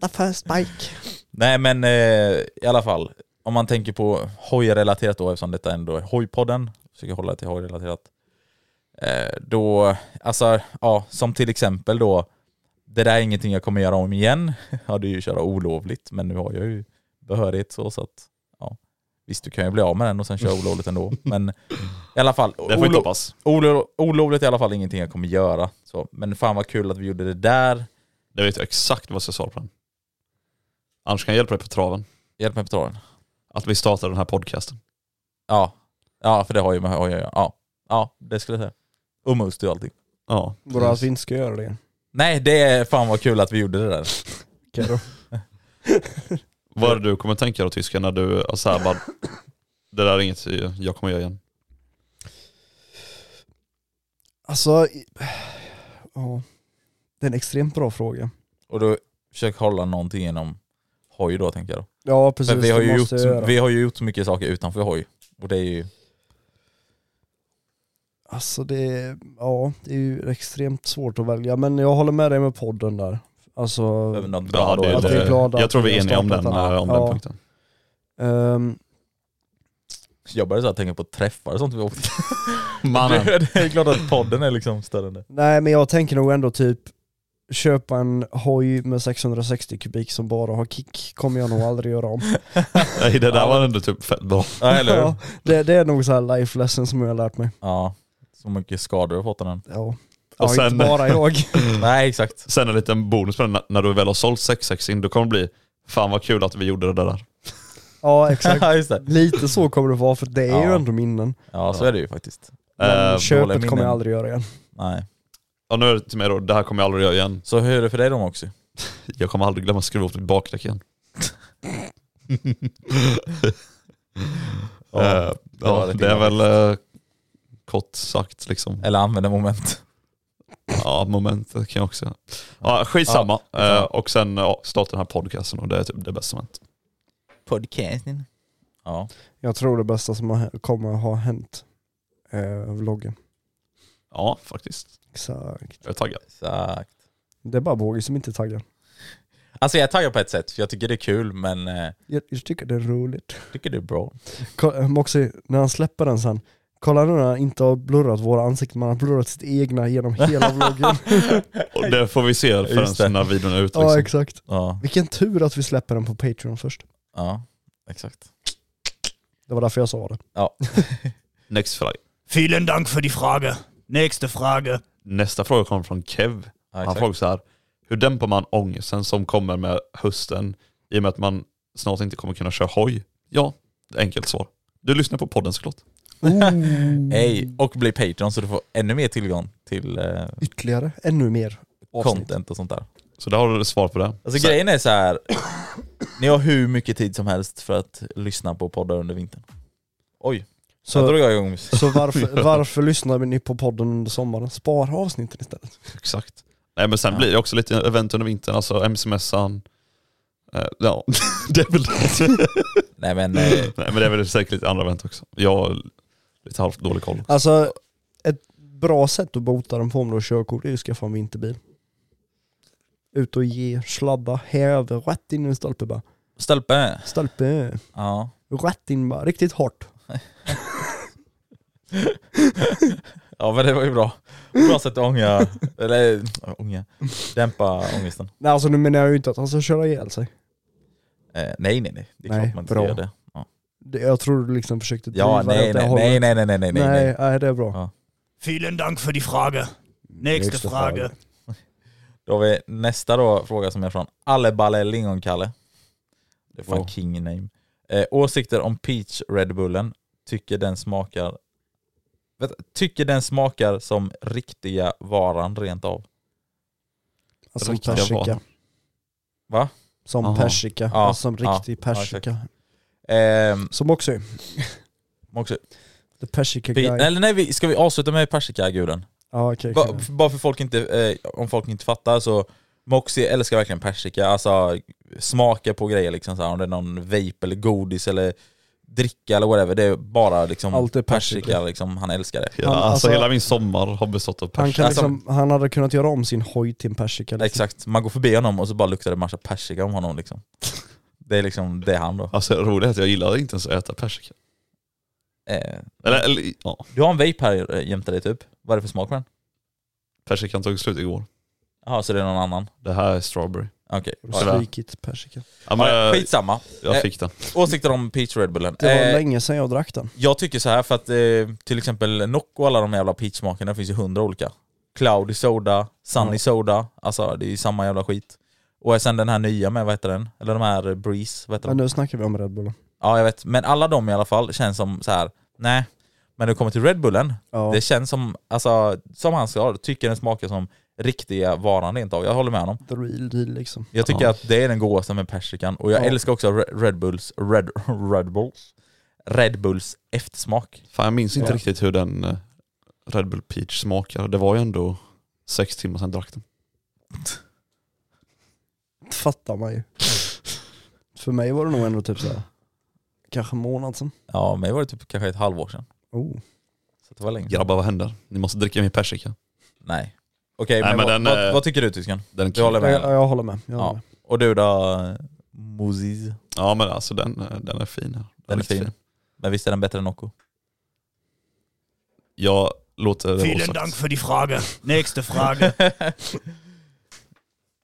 [SPEAKER 4] The first bike.
[SPEAKER 3] Nej men eh, i alla fall. Om man tänker på hojrelaterat då eftersom detta ändå är hojpodden. försöker hålla det till hojrelaterat. Eh, då, alltså, ja, som till exempel då, det där är ingenting jag kommer göra om igen. <laughs> Jag hade ju köra olovligt, men nu har jag ju behörighet så, så att ja. Visst, du kan ju bli av med den och sen köra
[SPEAKER 2] <laughs>
[SPEAKER 3] olovligt ändå. Men i alla fall,
[SPEAKER 2] Det får
[SPEAKER 3] olo-
[SPEAKER 2] inte hoppas.
[SPEAKER 3] olo- olovligt är i alla fall ingenting jag kommer göra. Så, men fan vad kul att vi gjorde det där.
[SPEAKER 2] Det vet jag exakt vad jag ska svara på den. Annars kan jag hjälpa dig på traven.
[SPEAKER 3] Hjälp mig på traven.
[SPEAKER 2] Att vi startar den här podcasten.
[SPEAKER 3] Ja. ja, för det har ju med hoj att göra. Ja. ja, det skulle jag säga. Umust och allting.
[SPEAKER 2] Ja.
[SPEAKER 4] Vadå att vi inte ska göra det?
[SPEAKER 3] Nej, det är fan vad kul att vi gjorde det där.
[SPEAKER 4] Okej då.
[SPEAKER 2] Vad är det du kommer tänka då tysken när du alltså här, bara, det där är inget jag kommer göra igen.
[SPEAKER 4] Alltså, i- ja. Det är en extremt bra fråga.
[SPEAKER 3] Och då försök hålla någonting genom hoj då tänker jag. Då.
[SPEAKER 4] Ja precis,
[SPEAKER 3] För vi har,
[SPEAKER 4] det
[SPEAKER 3] ju
[SPEAKER 4] måste
[SPEAKER 3] gjort,
[SPEAKER 4] jag göra.
[SPEAKER 3] vi har ju gjort så mycket saker utanför hoj. Och det är ju,
[SPEAKER 4] Alltså det är, ja, det är ju extremt svårt att välja, men jag håller med dig med podden där. Alltså,
[SPEAKER 3] behöver något bra
[SPEAKER 2] Ja,
[SPEAKER 3] då.
[SPEAKER 2] det,
[SPEAKER 4] Att vi är
[SPEAKER 2] det,
[SPEAKER 4] glada
[SPEAKER 2] jag
[SPEAKER 4] att
[SPEAKER 2] tror
[SPEAKER 4] vi
[SPEAKER 2] vi är
[SPEAKER 4] har
[SPEAKER 2] eniga om den,
[SPEAKER 4] startat den.
[SPEAKER 2] eh, om
[SPEAKER 4] Ja.
[SPEAKER 2] den punkten.
[SPEAKER 4] ehm,
[SPEAKER 3] Jag började så här tänka på träffar och sånt vi åkte till.
[SPEAKER 2] <laughs> Mannen.
[SPEAKER 3] <laughs> Det är klart att podden är liksom större än det.
[SPEAKER 4] nej men jag tänker nog ändå typ köpa en hoj med 660 kubik som bara har kick, kommer jag nog aldrig göra om.
[SPEAKER 2] Nej det där var ändå typ fett bra.
[SPEAKER 3] Ja, <laughs> eller hur?
[SPEAKER 4] Ja, det, det är nog så här life lesson som jag har lärt mig.
[SPEAKER 3] Ja. Så mycket skador jag fått av den.
[SPEAKER 4] Ja, ja
[SPEAKER 2] Och sen-
[SPEAKER 4] inte
[SPEAKER 3] <laughs>
[SPEAKER 4] bara jag.
[SPEAKER 3] Nej exakt.
[SPEAKER 2] Sen en liten bonus på den, när- när du väl har sålt 6-6 in, då kommer det bli Fan vad kul att vi gjorde det där.
[SPEAKER 4] Ja exakt.
[SPEAKER 3] Ja, just det.
[SPEAKER 4] Lite så kommer det vara för det är ju
[SPEAKER 3] Ja.
[SPEAKER 4] ändå minnen.
[SPEAKER 3] <laughs> ja så är det ju faktiskt.
[SPEAKER 4] Men
[SPEAKER 2] Eh,
[SPEAKER 3] dåliga
[SPEAKER 4] köpet
[SPEAKER 3] minnen.
[SPEAKER 4] kommer jag aldrig göra igen.
[SPEAKER 3] Nej.
[SPEAKER 2] ja, nu är det till mig då, det här kommer jag aldrig göra igen.
[SPEAKER 3] Så hur är det för dig då också?
[SPEAKER 2] Jag kommer aldrig glömma att skruva åt mitt bakdäck igen.
[SPEAKER 3] <laughs> Ja,
[SPEAKER 2] Eh,
[SPEAKER 3] det var
[SPEAKER 2] ja,
[SPEAKER 3] rätt
[SPEAKER 2] det är
[SPEAKER 3] illa
[SPEAKER 2] väl eh, kort sagt liksom.
[SPEAKER 3] Eller använda moment.
[SPEAKER 2] Ja, momentet kan jag också göra. Ja, skitsamma.
[SPEAKER 3] Ja, skitsamma.
[SPEAKER 2] Eh, och sen ja, starta den här podcasten och det är typ det bästa som hänt.
[SPEAKER 3] Podcasten. Ja.
[SPEAKER 4] Jag tror det bästa som har, kommer ha hänt är vloggen.
[SPEAKER 2] Ja, faktiskt.
[SPEAKER 4] Exakt.
[SPEAKER 2] Jag är taggad.
[SPEAKER 3] Exakt.
[SPEAKER 4] Det är bara Båge som inte är taggad.
[SPEAKER 3] Alltså jag är taggad på ett sätt, för jag tycker det är kul men eh,
[SPEAKER 4] Jag, jag tycker det är roligt.
[SPEAKER 3] jag tycker det är bra.
[SPEAKER 4] Ko- eh, Moxie, när han släpper den sen, kolla nu när han inte har blurrat våra ansikten, men han har blurrat sitt egna genom hela vloggen.
[SPEAKER 2] Och det får vi se
[SPEAKER 3] Just det.
[SPEAKER 2] förrän när videon är ute.
[SPEAKER 4] ja
[SPEAKER 2] Liksom.
[SPEAKER 4] exakt.
[SPEAKER 3] Ja,
[SPEAKER 4] Vilken tur att vi släpper den på Patreon först.
[SPEAKER 3] ja exakt.
[SPEAKER 4] Det var därför jag sa det.
[SPEAKER 3] Ja.
[SPEAKER 2] Next Friday.
[SPEAKER 6] Vielen Dank für die Frage. Nächste Frage.
[SPEAKER 2] Nästa fråga kommer från Kev.
[SPEAKER 3] ja
[SPEAKER 2] Han
[SPEAKER 3] exakt.
[SPEAKER 2] frågar så här. Hur dämpar man ångesten som kommer med hösten i och med att man snart inte kommer kunna köra hoj? Ja, enkelt svar. Du lyssnar på podden såklart.
[SPEAKER 3] Mm. Hej, och bli Patreon så du får ännu mer tillgång till eh,
[SPEAKER 4] Ytterligare, ännu mer. Avsnitt.
[SPEAKER 3] content och sånt där.
[SPEAKER 2] Så där har du svar på det.
[SPEAKER 3] Alltså
[SPEAKER 2] Så-
[SPEAKER 3] grejen är så här. ni har hur mycket tid som helst för att lyssna på poddar under vintern. Oj, så
[SPEAKER 4] Så,
[SPEAKER 3] drog jag igång.
[SPEAKER 4] så varför, varför lyssnar ni på podden under sommaren? Spara avsnitten istället.
[SPEAKER 2] Exakt. Nej men sen
[SPEAKER 3] Ja.
[SPEAKER 2] blir det också lite event under vintern, alltså MC-mässan. Eh, ja, <laughs> det är väl
[SPEAKER 3] Nej men, eh,
[SPEAKER 2] <laughs> Nej men det är väl säkert lite andra event också. Jag har lite halvt dålig koll.
[SPEAKER 4] Alltså, ett bra sätt att bota den på om du har körkort är ju att skaffa en vinterbil. Ut och ge, slabba, häva, rätt in i en stolpe bara.
[SPEAKER 3] stölpe.
[SPEAKER 4] Stolpe,
[SPEAKER 3] Ja.
[SPEAKER 4] rätt in bara, riktigt hårt.
[SPEAKER 3] ja men det var ju bra. Bra sätt att ånga, <laughs> eller ånga, dämpa ångesten.
[SPEAKER 4] Nej alltså nu menar jag ju inte att han ska köra ihjäl sig.
[SPEAKER 3] Eh, nej nej nej, det är
[SPEAKER 4] Nej,
[SPEAKER 3] klart man inte
[SPEAKER 4] bra.
[SPEAKER 3] gör det. Ja,
[SPEAKER 4] Det- Jag tror du liksom försökte driva
[SPEAKER 3] ja nej,
[SPEAKER 4] åt det
[SPEAKER 3] nej,
[SPEAKER 4] hållet.
[SPEAKER 3] nej, nej, nej, nej, nej,
[SPEAKER 4] nej,
[SPEAKER 3] nej.
[SPEAKER 4] nej, det är bra.
[SPEAKER 3] Ja.
[SPEAKER 6] Vielen Dank für die Frage. Nächste,
[SPEAKER 4] Nächste
[SPEAKER 6] Frage.
[SPEAKER 4] Frage.
[SPEAKER 3] Då har vi nästa då, fråga som är från Alleballe Lingonkalle. Det är fan
[SPEAKER 2] Wow.
[SPEAKER 3] king name. Eh, åsikter om Peach Red Bullen. Tycker den smakar... Vet, tycker den smakar som riktiga varan rent av?
[SPEAKER 4] Alltså, som
[SPEAKER 2] Riktiga
[SPEAKER 4] persika.
[SPEAKER 2] varan.
[SPEAKER 3] Va?
[SPEAKER 4] Som
[SPEAKER 2] Aha.
[SPEAKER 4] persika,
[SPEAKER 3] Ja,
[SPEAKER 4] alltså som
[SPEAKER 3] ja,
[SPEAKER 4] riktig persika.
[SPEAKER 3] Ehm,
[SPEAKER 4] som också är
[SPEAKER 3] också,
[SPEAKER 4] the persika
[SPEAKER 3] pi,
[SPEAKER 4] guy.
[SPEAKER 3] eller nej, vi, ska vi avsluta med persika-guden?
[SPEAKER 4] Ja, okej.
[SPEAKER 3] Ba,
[SPEAKER 4] okej.
[SPEAKER 3] f- bara för folk inte, eh, om folk inte fattar så Moxie älskar verkligen persika, alltså smaker på grejer liksom så här, om det är någon vape eller godis eller dricka eller whatever, det är bara liksom
[SPEAKER 4] Allt är persika.
[SPEAKER 3] persika, liksom, han älskar det.
[SPEAKER 2] Hela,
[SPEAKER 4] Han-
[SPEAKER 2] alltså,
[SPEAKER 4] alltså-
[SPEAKER 2] hela min sommar har bestått av
[SPEAKER 4] han,
[SPEAKER 2] pers.
[SPEAKER 4] kan
[SPEAKER 3] alltså-
[SPEAKER 4] liksom, han hade kunnat göra om sin hoj till en persika. Liksom.
[SPEAKER 3] Exakt, man går förbi honom och så bara luktar det massa persika om honom liksom. Det är liksom, det är han då.
[SPEAKER 2] Alltså det roliga är att jag gillar inte ens att äta persika.
[SPEAKER 3] Eh,
[SPEAKER 2] Eller, eller ja,
[SPEAKER 3] du har en vape här eh, jämte dig typ. Vad är det för smak på den?
[SPEAKER 2] persikan tog slut igår.
[SPEAKER 3] Jaha, så det är någon annan?
[SPEAKER 2] Det här är strawberry.
[SPEAKER 3] Okej.
[SPEAKER 4] Har
[SPEAKER 2] Ja, det-
[SPEAKER 4] du svikit persika?
[SPEAKER 2] Ja, men,
[SPEAKER 3] Ja,
[SPEAKER 2] jag,
[SPEAKER 3] Skitsamma.
[SPEAKER 2] jag
[SPEAKER 3] Eh,
[SPEAKER 2] fick den.
[SPEAKER 3] Åsikter om Peach Red Bullen.
[SPEAKER 4] Det var
[SPEAKER 3] Eh,
[SPEAKER 4] länge sedan jag drack den.
[SPEAKER 3] Jag tycker så här för att eh, till exempel Nocco och alla de jävla peachsmakerna finns ju hundra olika. Cloudy Soda, Sunny Soda, alltså det är ju samma jävla skit. Och sen den här nya med, vad heter den? Eller de här eh, Breeze, vad heter
[SPEAKER 4] Men
[SPEAKER 3] den?
[SPEAKER 4] nu snackar vi om Red Bullen.
[SPEAKER 3] Ja jag vet, men alla de i alla fall känns som så här. nej. Men när det kommer till Red Bullen,
[SPEAKER 4] Ja.
[SPEAKER 3] det känns som, alltså som han sa, tycker den smakar som riktiga varan rent av. Jag håller med honom.
[SPEAKER 4] The real deal liksom.
[SPEAKER 3] Jag tycker
[SPEAKER 2] Ja.
[SPEAKER 3] att det är den godaste med persikan och jag
[SPEAKER 4] Ja.
[SPEAKER 3] älskar också Re- Red Bulls, Red, <laughs> Red Bulls, Red Bulls eftersmak.
[SPEAKER 2] Fan, jag minns inte
[SPEAKER 4] Ja.
[SPEAKER 2] riktigt hur den eh, Red Bull Peach smakar. Det var ju ändå sex timmar sedan jag drack den.
[SPEAKER 4] Fattar man ju. För mig var det nog ändå typ såhär, kanske en månad sedan.
[SPEAKER 3] Ja, mig var det typ kanske ett halvår sedan.
[SPEAKER 4] Oh.
[SPEAKER 3] Så det var länge.
[SPEAKER 2] Grabbar vad händer? Ni måste dricka mer persika.
[SPEAKER 3] Nej. Okej,
[SPEAKER 2] Nej,
[SPEAKER 3] men,
[SPEAKER 2] men
[SPEAKER 3] vad,
[SPEAKER 2] den,
[SPEAKER 3] vad,
[SPEAKER 2] eh,
[SPEAKER 3] vad tycker du tysken?
[SPEAKER 2] Den är
[SPEAKER 3] Du håller
[SPEAKER 2] kul.
[SPEAKER 4] Jag,
[SPEAKER 3] med?
[SPEAKER 4] jag håller med. Jag håller
[SPEAKER 3] Ja.
[SPEAKER 4] med.
[SPEAKER 3] Och du då? eh, Moses?
[SPEAKER 2] Ja men alltså den, eh, den är fin. Den,
[SPEAKER 3] Den är fin. Men visst är den bättre än Nocco?
[SPEAKER 2] Jag låter det vara
[SPEAKER 6] Vielen
[SPEAKER 2] osagt.
[SPEAKER 6] Dank für die Frage. Nächste Frage.
[SPEAKER 3] <laughs>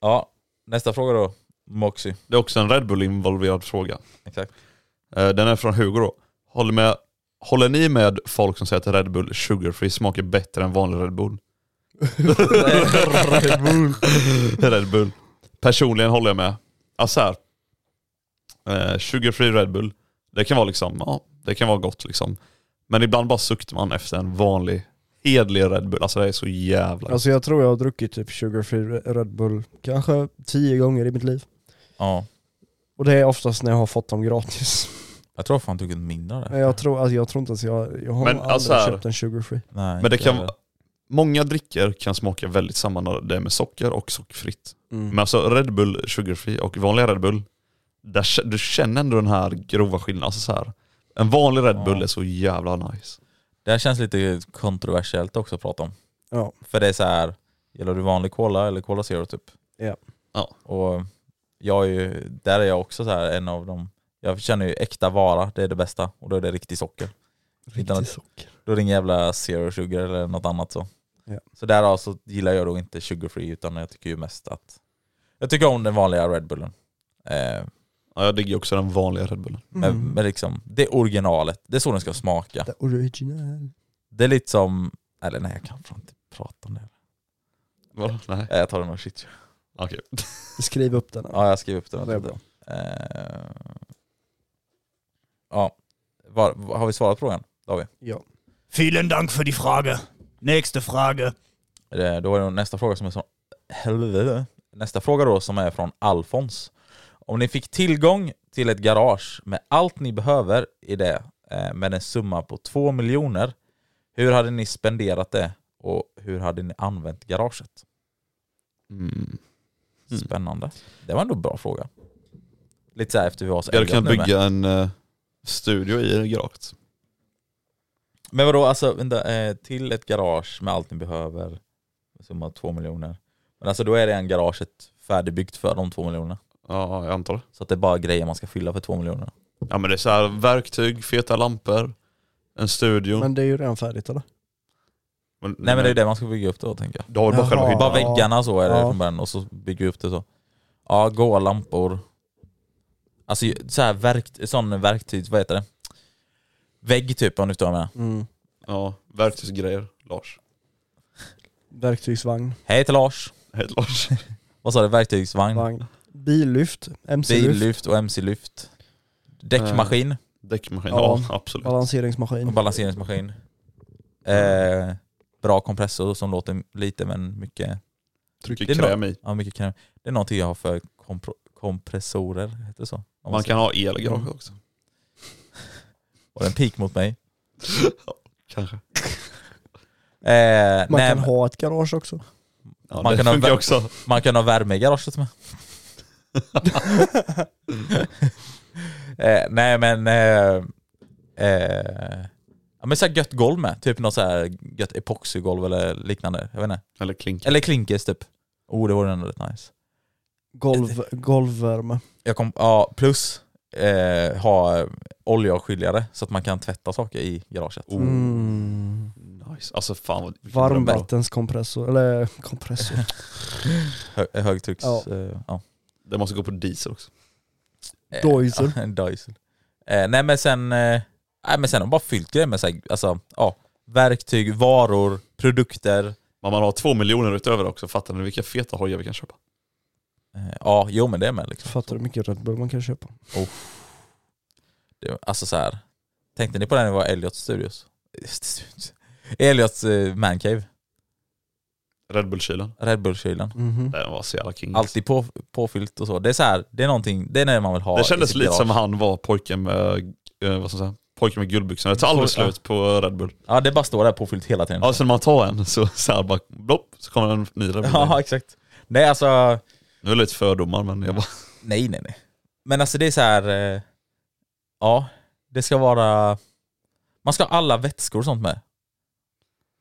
[SPEAKER 3] ja, nästa fråga då. Moxie.
[SPEAKER 2] Det är också en Red Bull involverad fråga.
[SPEAKER 3] Exakt.
[SPEAKER 2] Eh, Den är från Hugo då. Håller, med, håller ni med folk som säger att Red Bull Sugar Free smakar bättre än vanlig Red Bull? <laughs> Red Bull. Red Bull. Personligen håller jag med. Alltså här, eh, Sugar Free Red Bull, det kan vara liksom, ja, det kan vara gott liksom. Men ibland bara suktar man efter en vanlig, hedlig Red Bull. Alltså det är så jävla...
[SPEAKER 4] Alltså jag tror jag har druckit typ sugarfree Red Bull kanske tio gånger i mitt liv.
[SPEAKER 3] Ja,
[SPEAKER 4] Och det är oftast när jag har fått
[SPEAKER 3] <laughs>
[SPEAKER 4] dem gratis.
[SPEAKER 3] jag tror fan tog en mindre av det.
[SPEAKER 4] Men jag tror, alltså jag tror inte att jag, jag har
[SPEAKER 2] Men
[SPEAKER 4] nog aldrig
[SPEAKER 2] alltså här-
[SPEAKER 4] köpt en sugarfree.
[SPEAKER 2] Men
[SPEAKER 3] Nej,
[SPEAKER 2] det
[SPEAKER 3] inte
[SPEAKER 2] kan,
[SPEAKER 3] heller.
[SPEAKER 2] många drycker kan smaka väldigt samma när det är med socker och sockerfritt.
[SPEAKER 3] Mm.
[SPEAKER 2] Men alltså Red Bull sugarfree och vanliga Red Bull, där, kä- du känner ändå den här grova skillnaden. Alltså så här, en vanlig Red Bull
[SPEAKER 3] Ja.
[SPEAKER 2] är så jävla nice.
[SPEAKER 3] Det här känns lite kontroversiellt också att prata om.
[SPEAKER 4] Ja.
[SPEAKER 3] För det är så här, gillar du vanlig cola eller cola zero typ?
[SPEAKER 4] Ja.
[SPEAKER 2] Ja.
[SPEAKER 3] Och jag är ju, där är jag också så här en av dem. Jag känner ju äkta vara, det är det bästa. Och då är det riktig socker. Utan
[SPEAKER 4] Riktigt
[SPEAKER 3] att-
[SPEAKER 4] socker.
[SPEAKER 3] Då är det ingen jävla zero sugar eller något annat så.
[SPEAKER 4] Ja.
[SPEAKER 3] Så därav så gillar jag då inte sugar free utan jag tycker ju mest att jag tycker om den vanliga Red Bullen. Eh,
[SPEAKER 2] Ja, jag digger också den vanliga Red Bullen.
[SPEAKER 3] men,
[SPEAKER 4] Mm.
[SPEAKER 3] men liksom, det är originalet. Det är så den ska smaka.
[SPEAKER 4] The original.
[SPEAKER 3] Det är lite som, eller nej jag kan fan inte prata om det.
[SPEAKER 2] Va? Nej,
[SPEAKER 3] Eh, Jag tar den med shit.
[SPEAKER 2] okej.
[SPEAKER 4] Skriv upp den.
[SPEAKER 3] Ja, jag skriver upp den.
[SPEAKER 4] det är bra.
[SPEAKER 3] Eh, ja, var, var, har vi svarat frågan? Det har vi.
[SPEAKER 4] Ja.
[SPEAKER 6] Vielen Dank für die Frage. Nächste Frage.
[SPEAKER 3] Eh, Då är det nästa fråga som är så... Helvete. Nästa fråga då som är från Alfons. Om ni fick tillgång till ett garage med allt ni behöver i det eh, med en summa på 2 miljoner, hur hade ni spenderat det och hur hade ni använt garaget?
[SPEAKER 2] Mm.
[SPEAKER 3] <laughs>
[SPEAKER 2] Mm.
[SPEAKER 3] Spännande. Det var ändå en bra fråga. Lite så här efter vi var så
[SPEAKER 2] Jag hade
[SPEAKER 3] eldiga
[SPEAKER 2] kunnat
[SPEAKER 3] nu med.
[SPEAKER 2] bygga en eh, studio i garaget.
[SPEAKER 3] Men vadå, alltså vänta, eh, till ett garage med allt ni behöver, summa två miljoner. Men alltså då är det en garaget färdigbyggt för de två miljonerna.
[SPEAKER 2] Ja, jag antar det.
[SPEAKER 3] Så att det är bara grejer man ska fylla för två miljoner.
[SPEAKER 2] Ja men det är så här, verktyg, feta lampor, en studio.
[SPEAKER 4] Men det är ju redan färdigt eller?
[SPEAKER 3] Nej men det är det man ska bygga upp då tänker jag.
[SPEAKER 2] Du har ju bara
[SPEAKER 4] Jaha.
[SPEAKER 2] själva hyddan.
[SPEAKER 3] Bara väggarna så är det
[SPEAKER 4] Ja.
[SPEAKER 3] från början och så bygger vi upp det så. Ja, goa lampor. Alltså så här verkt, sån verktyg, vad heter det? Vägg typ om du förstår vad jag menar.
[SPEAKER 4] Mm.
[SPEAKER 2] Ja, verktygsgrejer. Lars.
[SPEAKER 4] Verktygsvagn,
[SPEAKER 3] Hej till Lars.
[SPEAKER 2] Helt Lars.
[SPEAKER 3] <laughs> Vad sa du? Verktygsvagn,
[SPEAKER 4] vagn. Billyft, MC-lyft,
[SPEAKER 3] Mm. billyft och mc-lyft. Däckmaskin.
[SPEAKER 2] Däckmaskin,
[SPEAKER 4] Ja.
[SPEAKER 2] ja absolut.
[SPEAKER 3] Och
[SPEAKER 4] balanseringsmaskin.
[SPEAKER 3] balanseringsmaskin. Eh, bra kompressor som låter lite men mycket, Det
[SPEAKER 2] Trycker
[SPEAKER 3] är bra.
[SPEAKER 2] kräm i.
[SPEAKER 3] ja, mycket kräm. Det är någonting jag har för kompro, kompressorer, heter det så? Om man
[SPEAKER 2] Man
[SPEAKER 3] säger.
[SPEAKER 2] kan ha el i garaget också.
[SPEAKER 3] Var det en pik
[SPEAKER 2] <laughs>
[SPEAKER 3] mot mig?
[SPEAKER 2] Kanske.
[SPEAKER 3] <laughs> Eh, nej,
[SPEAKER 4] Man kan
[SPEAKER 3] men
[SPEAKER 4] ha ett garage också.
[SPEAKER 2] Ja,
[SPEAKER 3] Man
[SPEAKER 2] det
[SPEAKER 3] kan ha
[SPEAKER 2] funkar
[SPEAKER 3] vä-
[SPEAKER 2] också.
[SPEAKER 3] man kan ha värme i
[SPEAKER 2] <laughs>
[SPEAKER 3] garaget med. eh, nej men... Eh, eh, ja, men så här gött golv med, typ något så här gött epoxygolv eller liknande. Jag vet inte.
[SPEAKER 2] Eller klink.
[SPEAKER 3] Eller klinkers typ. Oh det vore ändå rätt nice.
[SPEAKER 4] Golv, golvvärme.
[SPEAKER 3] Jag kom, ja, plus eh, ha oljeavskiljare så att man kan tvätta saker i garaget.
[SPEAKER 4] Mm.
[SPEAKER 2] Oh, Nice. Alltså fan vad... vilken dröm.
[SPEAKER 4] Varmvattenskompressor, eller
[SPEAKER 2] <laughs>
[SPEAKER 4] kompressor.
[SPEAKER 3] Hö- högtrycks...
[SPEAKER 4] Ja.
[SPEAKER 3] Eh, ja.
[SPEAKER 2] Det måste gå på diesel också.
[SPEAKER 3] Eh,
[SPEAKER 4] Dyson.
[SPEAKER 3] <laughs> ja, en Dyson. Eh, nej men sen, eh, nej men sen har de bara fyllt grejer med så här, alltså, ja, verktyg, varor, produkter.
[SPEAKER 2] Men man har två miljoner utöver också, fattar ni vilka feta hojar vi kan köpa?
[SPEAKER 3] Eh, ja, jo men det är med liksom.
[SPEAKER 4] Fattar du hur mycket Red Bull man kan köpa?
[SPEAKER 3] Det, alltså så här. tänkte ni på det när det var Elliots studios? <laughs> Elliots eh, mancave,
[SPEAKER 2] Red Bull-kylen.
[SPEAKER 3] Red Bull-kylen.
[SPEAKER 4] Mhm.
[SPEAKER 2] Den var så jävla king.
[SPEAKER 3] Mm. Alltid på, påfyllt och så. Det är så här, det är någonting, det är när man vill ha
[SPEAKER 2] det
[SPEAKER 3] i
[SPEAKER 2] kändes
[SPEAKER 3] sitt
[SPEAKER 2] lite
[SPEAKER 3] garage.
[SPEAKER 2] som han var pojken med, eh, vad ska man säga, pojken med guldbyxorna. Det tar aldrig
[SPEAKER 3] Mm. Ja. Mm.
[SPEAKER 2] slut på Red Bull.
[SPEAKER 3] Ja det bara står där påfyllt hela tiden.
[SPEAKER 2] Ja, sen när man tar en så, så här bara, blopp, så kommer en ny Red Bull.
[SPEAKER 3] <laughs> ja exakt. Nej alltså,
[SPEAKER 2] Nu är det lite fördomar men jag bara,
[SPEAKER 3] Nej, nej, nej. Men alltså det är så här. eh, Ja, det ska vara... Man ska ha alla vätskor och sånt med.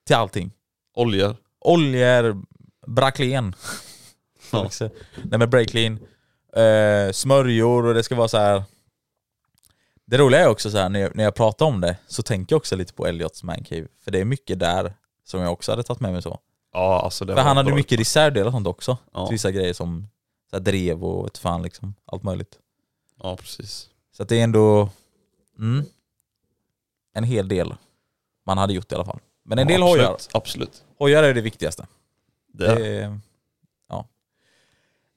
[SPEAKER 3] Till allting.
[SPEAKER 2] oljor.
[SPEAKER 3] Oljor, Bracleen.
[SPEAKER 2] <laughs> Ja.
[SPEAKER 3] Liksom. nej men Bracleen. Eh, smörjor och det ska vara så här. Det roliga är också så här när jag, när jag pratar om det så tänker jag också lite på Elliots mancave. För det är mycket där som jag också hade tagit med mig så.
[SPEAKER 2] Ja, alltså det
[SPEAKER 3] För
[SPEAKER 2] var
[SPEAKER 3] han hade
[SPEAKER 2] bra.
[SPEAKER 3] mycket reservdelar och sånt också.
[SPEAKER 2] Ja.
[SPEAKER 3] Till vissa grejer som så här drev och vet fan liksom. Allt möjligt.
[SPEAKER 2] Ja, precis.
[SPEAKER 3] Så att det är ändå mm, en hel del man hade gjort i alla fall. Men en
[SPEAKER 2] ja,
[SPEAKER 3] del
[SPEAKER 2] absolut,
[SPEAKER 3] hojar.
[SPEAKER 2] Absolut.
[SPEAKER 3] Hojar är det viktigaste.
[SPEAKER 2] Det är,
[SPEAKER 3] Det är- ja.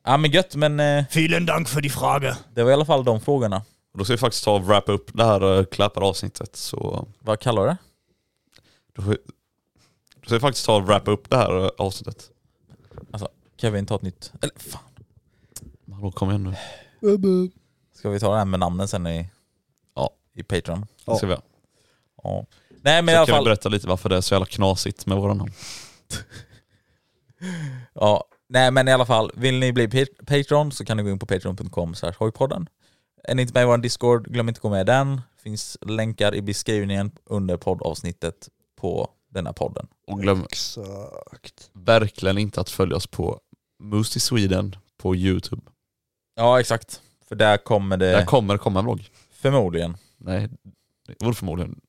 [SPEAKER 3] ja men gött, men eh,
[SPEAKER 6] Vielen Dank för die Frage.
[SPEAKER 3] det var i alla fall de frågorna.
[SPEAKER 2] och då ska vi faktiskt ta och wrappa upp det här eh, klappade avsnittet. Så
[SPEAKER 3] Vad kallar du det?
[SPEAKER 2] då, får vi- då ska vi faktiskt ta och wrappa upp det här eh, avsnittet.
[SPEAKER 3] Kevin, ta ett nytt. Eller fan,
[SPEAKER 2] Hallå kom igen nu.
[SPEAKER 3] ska vi ta det här med namnen sen i, ja, i Patreon?
[SPEAKER 2] Det ska vi göra.
[SPEAKER 3] Ja. Nej men i
[SPEAKER 2] så
[SPEAKER 3] alla
[SPEAKER 2] kan vi
[SPEAKER 3] fall.
[SPEAKER 2] berätta lite varför det är så jävla knasigt med våra namn.
[SPEAKER 3] Ja, nej men i alla fall, vill ni bli pa- Patreon så kan ni gå in på patreon.com slash hojpodden. Är ni inte med i vår Discord, glöm inte att gå med i den. Finns länkar i beskrivningen under poddavsnittet på denna podden.
[SPEAKER 2] Och glöm
[SPEAKER 4] Exakt.
[SPEAKER 2] verkligen inte att följa oss på Moose i Sweden på Youtube.
[SPEAKER 3] Ja, exakt. För där kommer det
[SPEAKER 2] Där kommer komma en vlogg.
[SPEAKER 3] förmodligen.
[SPEAKER 2] Nej, det vore förmodligen.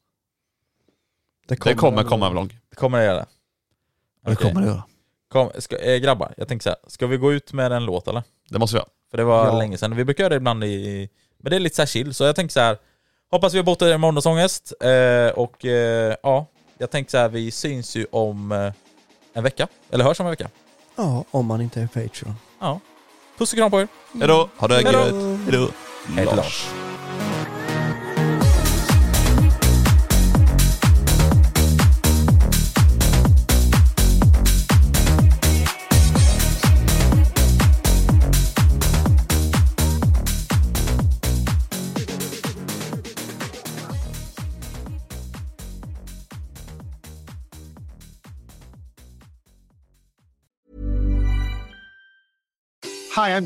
[SPEAKER 4] Det
[SPEAKER 2] Det kommer komma en vlogg.
[SPEAKER 3] Det kommer det göra.
[SPEAKER 2] Det
[SPEAKER 3] Okej.
[SPEAKER 2] kommer det göra.
[SPEAKER 3] Kom, ska, eh, grabbar, jag tänker så här. Ska vi gå ut med en låt eller?
[SPEAKER 2] Det måste vi göra.
[SPEAKER 3] För det var
[SPEAKER 4] Ja.
[SPEAKER 3] länge sedan. Vi brukar göra det ibland i... Men det är lite så här chill. Så jag tänker så här. Hoppas vi har bott er måndagsångest. Eh, och eh, ja, jag tänkte så här. Vi syns ju om eh, en vecka. Eller hörs om en vecka.
[SPEAKER 4] Ja, om man inte är Patreon.
[SPEAKER 3] Ja. Puss och kram på er.
[SPEAKER 2] Hejdå, ha det
[SPEAKER 3] Hejdå.
[SPEAKER 2] gött. Hejdå.
[SPEAKER 3] Hej då.
[SPEAKER 2] Lars.
[SPEAKER 5] Hi, I'm